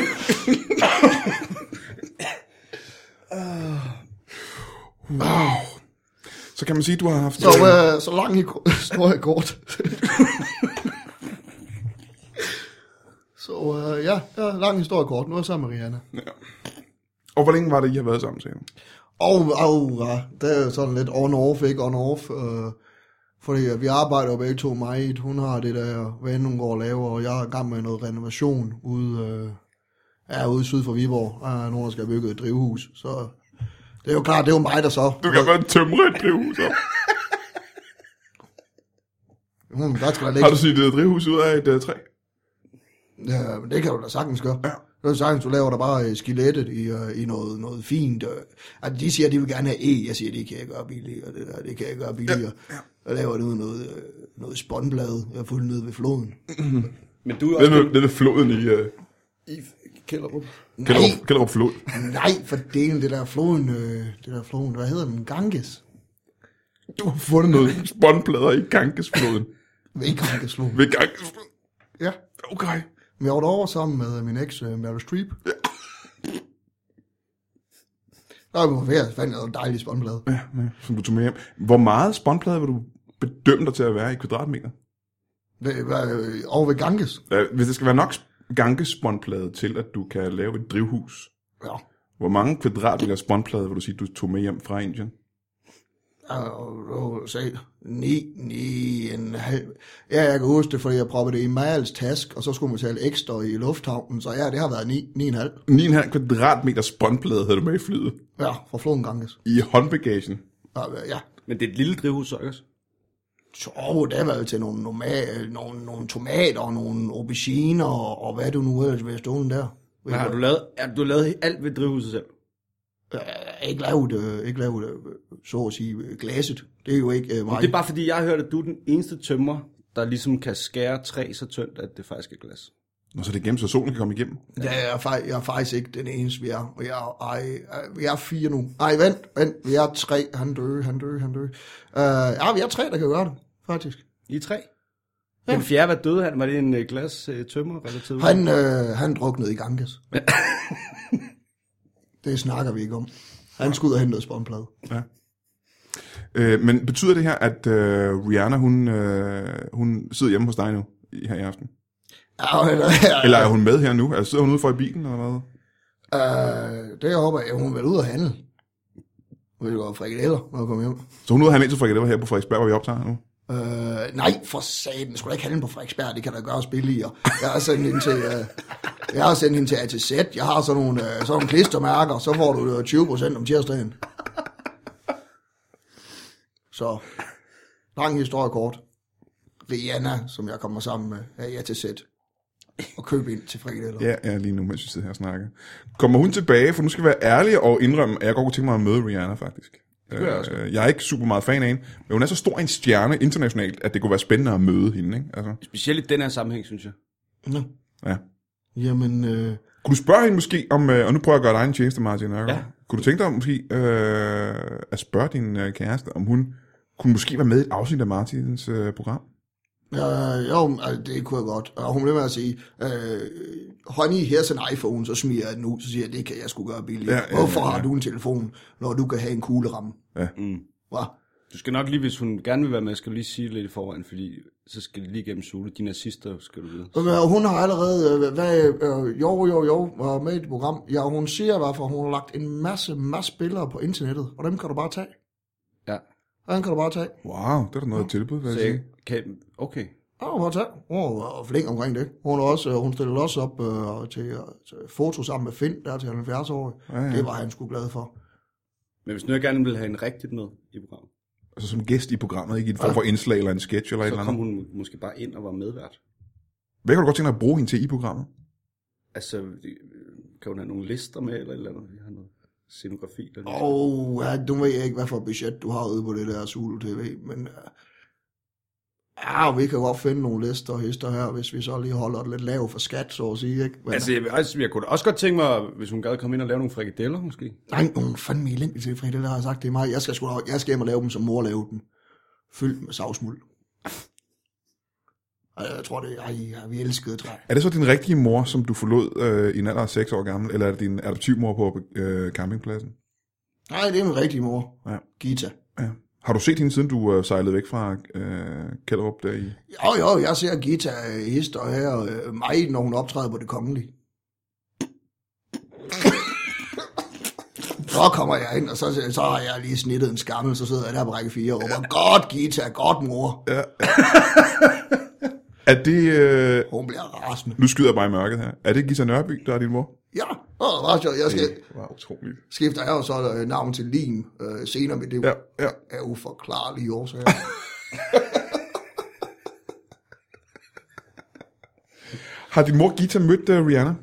Speaker 1: wow. Så kan man sige, at du har haft...
Speaker 4: Så, øh, så lang i ko- historie kort. så Så øh, ja, ja, lang historie kort. Nu er jeg sammen med Rihanna.
Speaker 1: Og hvor længe var det, I har været sammen til hende?
Speaker 4: Og au, ja, det er jo sådan lidt on-off, ikke on-off. Øh, fordi at vi arbejder jo begge to meget. Hun har det der, hvad end hun går og laver, og jeg er i gang med noget renovation ude, øh, ja, ude syd for Viborg. Der er nogen, der skal bygge et drivhus. Så det er jo klart, det er jo mig, der så.
Speaker 1: Du kan godt tømre et drivhus op.
Speaker 4: Hun, der skal
Speaker 1: Har
Speaker 4: der ligge
Speaker 1: du sit øh, drivhus ud af et uh, træ?
Speaker 4: Ja, men det kan du da sagtens gøre. Ja. Det er sagtens, du laver der bare øh, skelettet i, øh, i noget, noget fint. Øh. Altså, de siger, at de vil gerne have E. Jeg siger, det kan jeg gøre billigere, det der, det kan jeg gøre billigere. Ja. Ja. Jeg laver det ud af noget, øh, noget spåndblad, jeg har fundet nede ved floden.
Speaker 2: Men du
Speaker 1: Det er,
Speaker 2: er også
Speaker 1: noget- det er floden i uh,
Speaker 2: i Kælderup.
Speaker 1: Kælderup, Kælderup Flod.
Speaker 4: Nej, for delen, det der floden, øh, det der floden, hvad hedder den? Ganges?
Speaker 1: Du har fundet noget spåndplader i Gangesfloden.
Speaker 4: Ved ikke Gangesfloden.
Speaker 1: Ved Gangesfloden.
Speaker 4: Ja.
Speaker 1: Okay.
Speaker 4: Men jeg var derovre sammen med øh, min eks, øh, Meryl Streep. Ja. Der var vi fandt jeg noget dejligt spåndblad.
Speaker 1: Ja, ja, som du tog med hjem. Hvor meget spåndplader vil du bedømme dig til at være i kvadratmeter?
Speaker 4: Det var øh, over ved Ganges.
Speaker 1: Øh, Hvis det skal være nok sp- Gangesspåndplade til, at du kan lave et drivhus,
Speaker 4: Ja.
Speaker 1: hvor mange kvadratmeter spåndplade vil du sige, du tog med hjem fra Indien?
Speaker 4: Og sagde, ni, ni, en halv. Ja, jeg kan huske det, fordi jeg proppede det i Majals task, og så skulle man betale ekstra i lufthavnen, så ja, det har været ni, ni en halv.
Speaker 1: 9,5 kvadratmeter spåndplade havde du med i flyet.
Speaker 4: Ja, fra floden ganges.
Speaker 1: I håndbagagen.
Speaker 4: Ja, ja.
Speaker 2: Men det er et lille drivhus, så ikke også?
Speaker 4: Så det var jo til nogle, normal, nogle, nogle tomater og nogle auberginer og, og hvad du nu ellers vil stående der.
Speaker 2: Men har du lavet, har du lavet alt ved drivhuset selv?
Speaker 4: Øh, Ikke lavet, øh, ikke lavet øh, så at sige, øh, glasset. Det er jo ikke øh, mig.
Speaker 2: Det er bare fordi, jeg har hørt, at du er den eneste tømmer, der ligesom kan skære træ så tyndt, at det faktisk er glas.
Speaker 1: Nå, så det er gemt, så solen kan komme igennem.
Speaker 4: Ja, jeg er, fak- jeg er faktisk ikke den eneste, vi er. Og jeg, er- ej, øh, vi er fire nu. Ej, vent, vent. Vi er tre. Han døde, han døde, han døde. Uh, ja, vi er tre, der kan gøre det, faktisk.
Speaker 2: I er tre? Ja. Den fjerde, hvad døde han? Var det en øh, glas øh, tømmer relativt?
Speaker 4: Han, øh, han druknede i Ganges. det snakker vi ikke om. Han skulle ud og hente noget spåndplade.
Speaker 1: Øh, men betyder det her, at øh, Rihanna, hun, øh, hun sidder hjemme hos dig nu i- her i aften?
Speaker 4: Ja, og- ja,
Speaker 1: Eller er hun med her nu? Altså, sidder hun ude for i bilen eller hvad?
Speaker 4: øh, det jeg håber jeg, hun vil ud og handle. Hun vil gå og frikadeller, når hun kommer hjem.
Speaker 1: Så hun er ude og handle til frikadeller her på Frederiksberg, hvor vi optager nu.
Speaker 4: Øh, nej, for satan, skulle da ikke handle på Frederiksberg, det kan da gøres billigere. Jeg har sendt hende til, øh, jeg har sendt hende til ATZ, jeg har sådan nogle, øh, sådan nogle klistermærker, så får du øh, 20% om tirsdagen. Så, lang historie kort. Rihanna, som jeg kommer sammen med, er i ATZ. Og køb ind til frikadeller.
Speaker 1: Ja, ja, lige nu, mens vi sidder her og snakker. Kommer hun tilbage? For nu skal jeg være ærlig og indrømme, at jeg godt kunne tænke mig at møde Rihanna, faktisk. Det
Speaker 2: jeg også
Speaker 1: jeg er ikke super meget fan af hende, men hun er så stor en stjerne internationalt, at det kunne være spændende at møde hende, ikke? Altså,
Speaker 2: Specielt i den her sammenhæng, synes jeg.
Speaker 4: Nå,
Speaker 1: ja.
Speaker 4: Jamen, øh,
Speaker 1: Kunne du spørge hende måske om, øh, og nu prøver jeg at gøre dig en tjeneste, Martin Nørgaard.
Speaker 2: Ja.
Speaker 1: Kunne du tænke dig om måske øh, at spørge din øh, kæreste, om hun kunne måske være med i et afsnit af Martins øh, program?
Speaker 4: Øh, jo, men, altså, det kunne jeg godt. Og hun blev med at sige, øh, honey, here's an iPhone, så smiger jeg den ud, så siger jeg, det kan jeg sgu gøre billigt. Ja, ja, Hvorfor ja, ja. har du en telefon, når du kan have en kugleramme?
Speaker 1: Ja.
Speaker 4: Mm. Hva?
Speaker 2: Du skal nok lige, hvis hun gerne vil være med, skal du lige sige lidt i forvejen, fordi så skal det lige gennem Sule. De nazister skal du vide.
Speaker 4: Og, øh, Hun har allerede, øh, hvad, øh, jo, jo, jo, var med i et program. Ja, hun siger i hvert fald, hun har lagt en masse, masse billeder på internettet, og dem kan du bare tage.
Speaker 2: Ja.
Speaker 4: Og dem kan du bare tage.
Speaker 1: Wow, det er da noget ja. tilbud, vil jeg
Speaker 2: Så
Speaker 1: sige.
Speaker 2: jeg kan, okay.
Speaker 4: Ja, hun var tage. Hun var flink omkring det. Hun, er også, øh, hun stillede også op øh, til, øh, til foto sammen med Finn, der er til 70 år. Ja, ja. Det var han sgu glad for.
Speaker 2: Men hvis nu jeg gerne vil have en rigtigt med i programmet,
Speaker 1: Altså som gæst i programmet, ikke i en form for indslag eller en sketch eller et
Speaker 2: så
Speaker 1: eller
Speaker 2: kom
Speaker 1: andet.
Speaker 2: hun måske bare ind og var medvært.
Speaker 1: Hvad kan du godt tænke dig at bruge hende til i programmet?
Speaker 2: Altså, øh, kan hun have nogle lister med, eller et eller andet? Vi har noget scenografi. Der lige-
Speaker 4: Åh, ja, nu ved jeg ikke, hvad for et budget du har ude på det der Zulu TV, men øh, ja, vi kan godt finde nogle lister og hister her, hvis vi så lige holder det lidt lavt for skat, så at sige, ikke? Men,
Speaker 2: Altså, jeg, vil også, jeg kunne da også godt tænke mig, hvis hun gad komme ind og lave nogle frikadeller, måske.
Speaker 4: nej, hun er fandme elendig til, fordi det der har jeg sagt, det er mig. Jeg skal, sgu, da- jeg skal hjem og lave dem, som mor lavede dem. Fyldt med savsmuld. Ej, Jeg tror det, ej, ja, vi elskede træ.
Speaker 1: Er det så din rigtige mor, som du forlod øh, i en alder af 6 år gammel, eller er det din adoptivmor på øh, campingpladsen?
Speaker 4: Nej, det er min rigtige mor.
Speaker 1: Ja.
Speaker 4: Gita.
Speaker 1: Ja. Har du set hende, siden du øh, sejlede væk fra øh, Kælderup der i?
Speaker 4: Jo, jo, jeg ser Gita øh, hister her, og øh, mig, når hun optræder på det kongelige. Så kommer jeg ind, og så, så har jeg lige snittet en skammel, så sidder jeg der på række 4 og råber, godt Gita, godt mor.
Speaker 1: Er det... Øh,
Speaker 4: Hun bliver rasende.
Speaker 1: nu skyder jeg bare i mørket her. Er det Gita Nørby, der er din mor?
Speaker 4: Ja, og ret sjovt. Jeg skal,
Speaker 1: Det var utroligt.
Speaker 4: skifter jeg jo så øh, navn til Lim øh, senere med det
Speaker 1: Ja, ja.
Speaker 4: er uforklarlige årsager.
Speaker 1: Har din mor Gita mødt uh, Rihanna?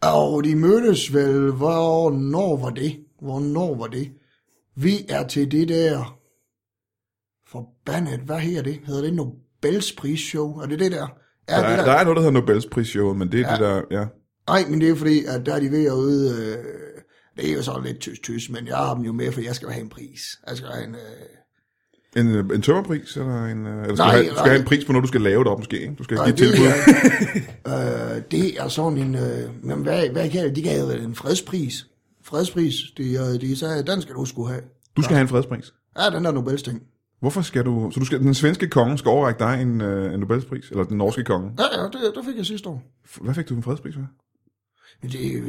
Speaker 4: Og de mødtes vel, hvornår var det? Hvornår var det? Vi er til det der... Forbandet, hvad hedder det? Hedder det Nobelsprisshow? Er det det der? Er
Speaker 1: der,
Speaker 4: det
Speaker 1: er, der er noget, der hedder Nobelsprisshow, men det er ja. det der... Ja.
Speaker 4: Nej, men det er fordi, at der er de ved at ude... Øh, det er jo så lidt tysk-tysk, men jeg har dem jo med, for jeg skal jo have en pris. Jeg skal have en... Øh,
Speaker 1: En, øh, en tømmerpris, eller, en, øh, eller skal,
Speaker 4: Nej,
Speaker 1: du have, du skal
Speaker 4: nej.
Speaker 1: have en pris på noget, du skal lave deroppe måske, ikke? Du skal give et
Speaker 4: det
Speaker 1: tilbud.
Speaker 4: er, øh, det er sådan en... Øh, men hvad, hvad kan det? De gav vel en fredspris. Fredspris, de, øh, de sagde, den skal du skulle have.
Speaker 1: Du skal have en fredspris.
Speaker 4: Ja, den der Nobelsting.
Speaker 1: Hvorfor skal du... Så du skal, den svenske konge skal overrække dig en, øh, en Nobelspris, eller den norske konge.
Speaker 4: Ja, ja, det, det fik jeg sidste år.
Speaker 1: F- Hvad fik du en fredspris for?
Speaker 4: Men det er jo-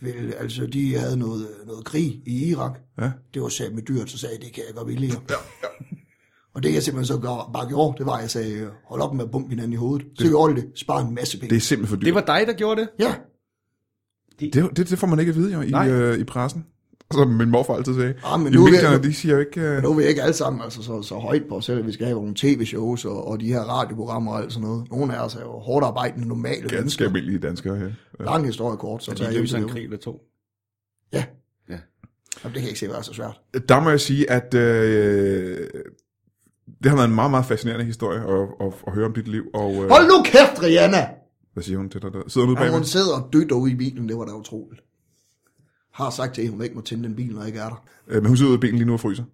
Speaker 4: vel, altså, de havde noget, noget krig i Irak.
Speaker 1: Ja.
Speaker 4: Det var sat med dyrt, så sagde jeg, det kan jeg gøre billigere. Ja, ja. Og det jeg simpelthen så gør, bare gjorde, det var, at jeg sagde, hold op med at bumpe hinanden i hovedet. Så gjorde de det. Spar en masse penge.
Speaker 1: Det er simpelthen for dyrt.
Speaker 2: Det var dig, der gjorde det?
Speaker 4: Ja,
Speaker 1: Det, det, det får man ikke at vide jo, i,
Speaker 2: Nej.
Speaker 1: øh, i pressen. Som min morfar altid sagde.
Speaker 4: Ah, men
Speaker 1: I
Speaker 4: nu er vi-
Speaker 1: medierne, de siger jo ikke... Øh,
Speaker 4: nu er vi ikke alle sammen altså, så, så højt på os selv, at vi skal have nogle tv-shows og, og de her radioprogrammer og alt sådan noget. Nogle af os er jo hårdt arbejdende normale
Speaker 1: ganske
Speaker 4: mennesker.
Speaker 1: almindelige danskere her. Ja.
Speaker 4: Lang historie kort, så
Speaker 2: Så
Speaker 4: tager
Speaker 2: de
Speaker 4: jeg hjem
Speaker 2: løser
Speaker 4: til
Speaker 2: en
Speaker 4: det.
Speaker 2: krig eller to.
Speaker 4: Ja.
Speaker 2: Ja.
Speaker 4: Jamen, det kan jeg ikke se, hvad er så svært.
Speaker 1: Der må jeg sige, at øh, det har været en meget, meget fascinerende historie at, at, at høre om dit liv. Og, øh,
Speaker 4: Hold nu kæft, Rihanna!
Speaker 1: hvad siger hun til dig der? Sidder hun ude
Speaker 4: Og
Speaker 1: bagved?
Speaker 4: hun sidder og døtter ude i bilen, det var da utroligt. Har sagt til hende, hun ikke må tænde den bil, når jeg ikke er der.
Speaker 1: Øh, men hun sidder ude i benen lige nu og fryser.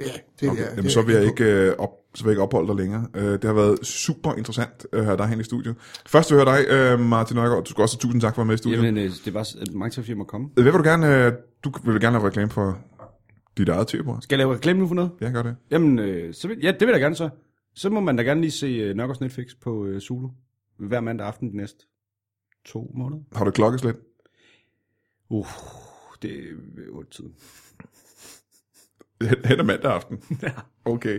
Speaker 4: Ja, det
Speaker 1: Okay,
Speaker 4: er
Speaker 1: jamen, så vil jeg ikke, øh, op, så vil jeg ikke opholde dig længere. Øh, det har været super interessant at høre dig hen i studiet. Først vil jeg høre dig, øh, Martin Nørgaard. Du skal også have tusind tak for at være med i studiet.
Speaker 2: Jamen, øh, det var s- mange tak, fordi jeg måtte komme.
Speaker 1: Hvad vil du gerne... Øh, du vil gerne lave reklame for dit eget tv
Speaker 2: Skal jeg lave reklame nu for noget?
Speaker 1: Ja, gør det.
Speaker 2: Jamen, øh, så vil, ja, det vil jeg da gerne så. Så må man da gerne lige se øh, Nørgaards Netflix på øh, Zulu. Hver mandag aften de næste to måneder.
Speaker 1: Har du et klokkeslæt?
Speaker 2: Uh, det er ved otte tiden.
Speaker 1: Hen- Hen ad mandag aften.
Speaker 2: Ja.
Speaker 1: Okay.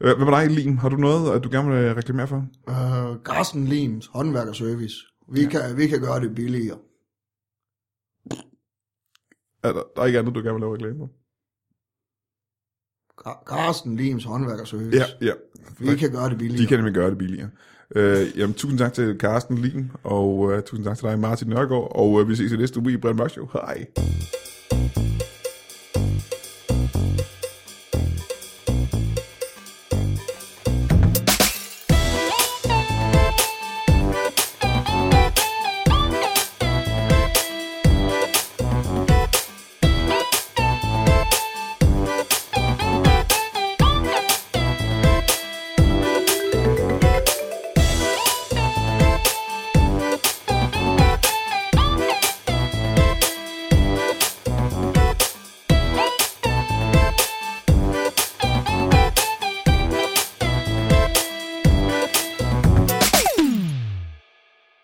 Speaker 1: Øh, Hvad med dig, Lim? Har du noget, at du gerne vil øh, reklamere for?
Speaker 4: Øh, Carsten Lims, håndværkerservice. Vi, ja. kan, vi kan gøre det billigere.
Speaker 1: Er der, der er ikke andet, du gerne vil lave reklame for?
Speaker 4: Car- Carsten Lims, håndværkerservice.
Speaker 1: Ja, ja.
Speaker 4: Vi kan gøre det billigere.
Speaker 1: De kan nemlig gøre det billigere. Øh, jamen, tusind tak til Carsten Lim, og øh, tusind tak til dig, Martin Nørgaard, og øh, vi ses i næste uge i Brand Mørk Show. Hej.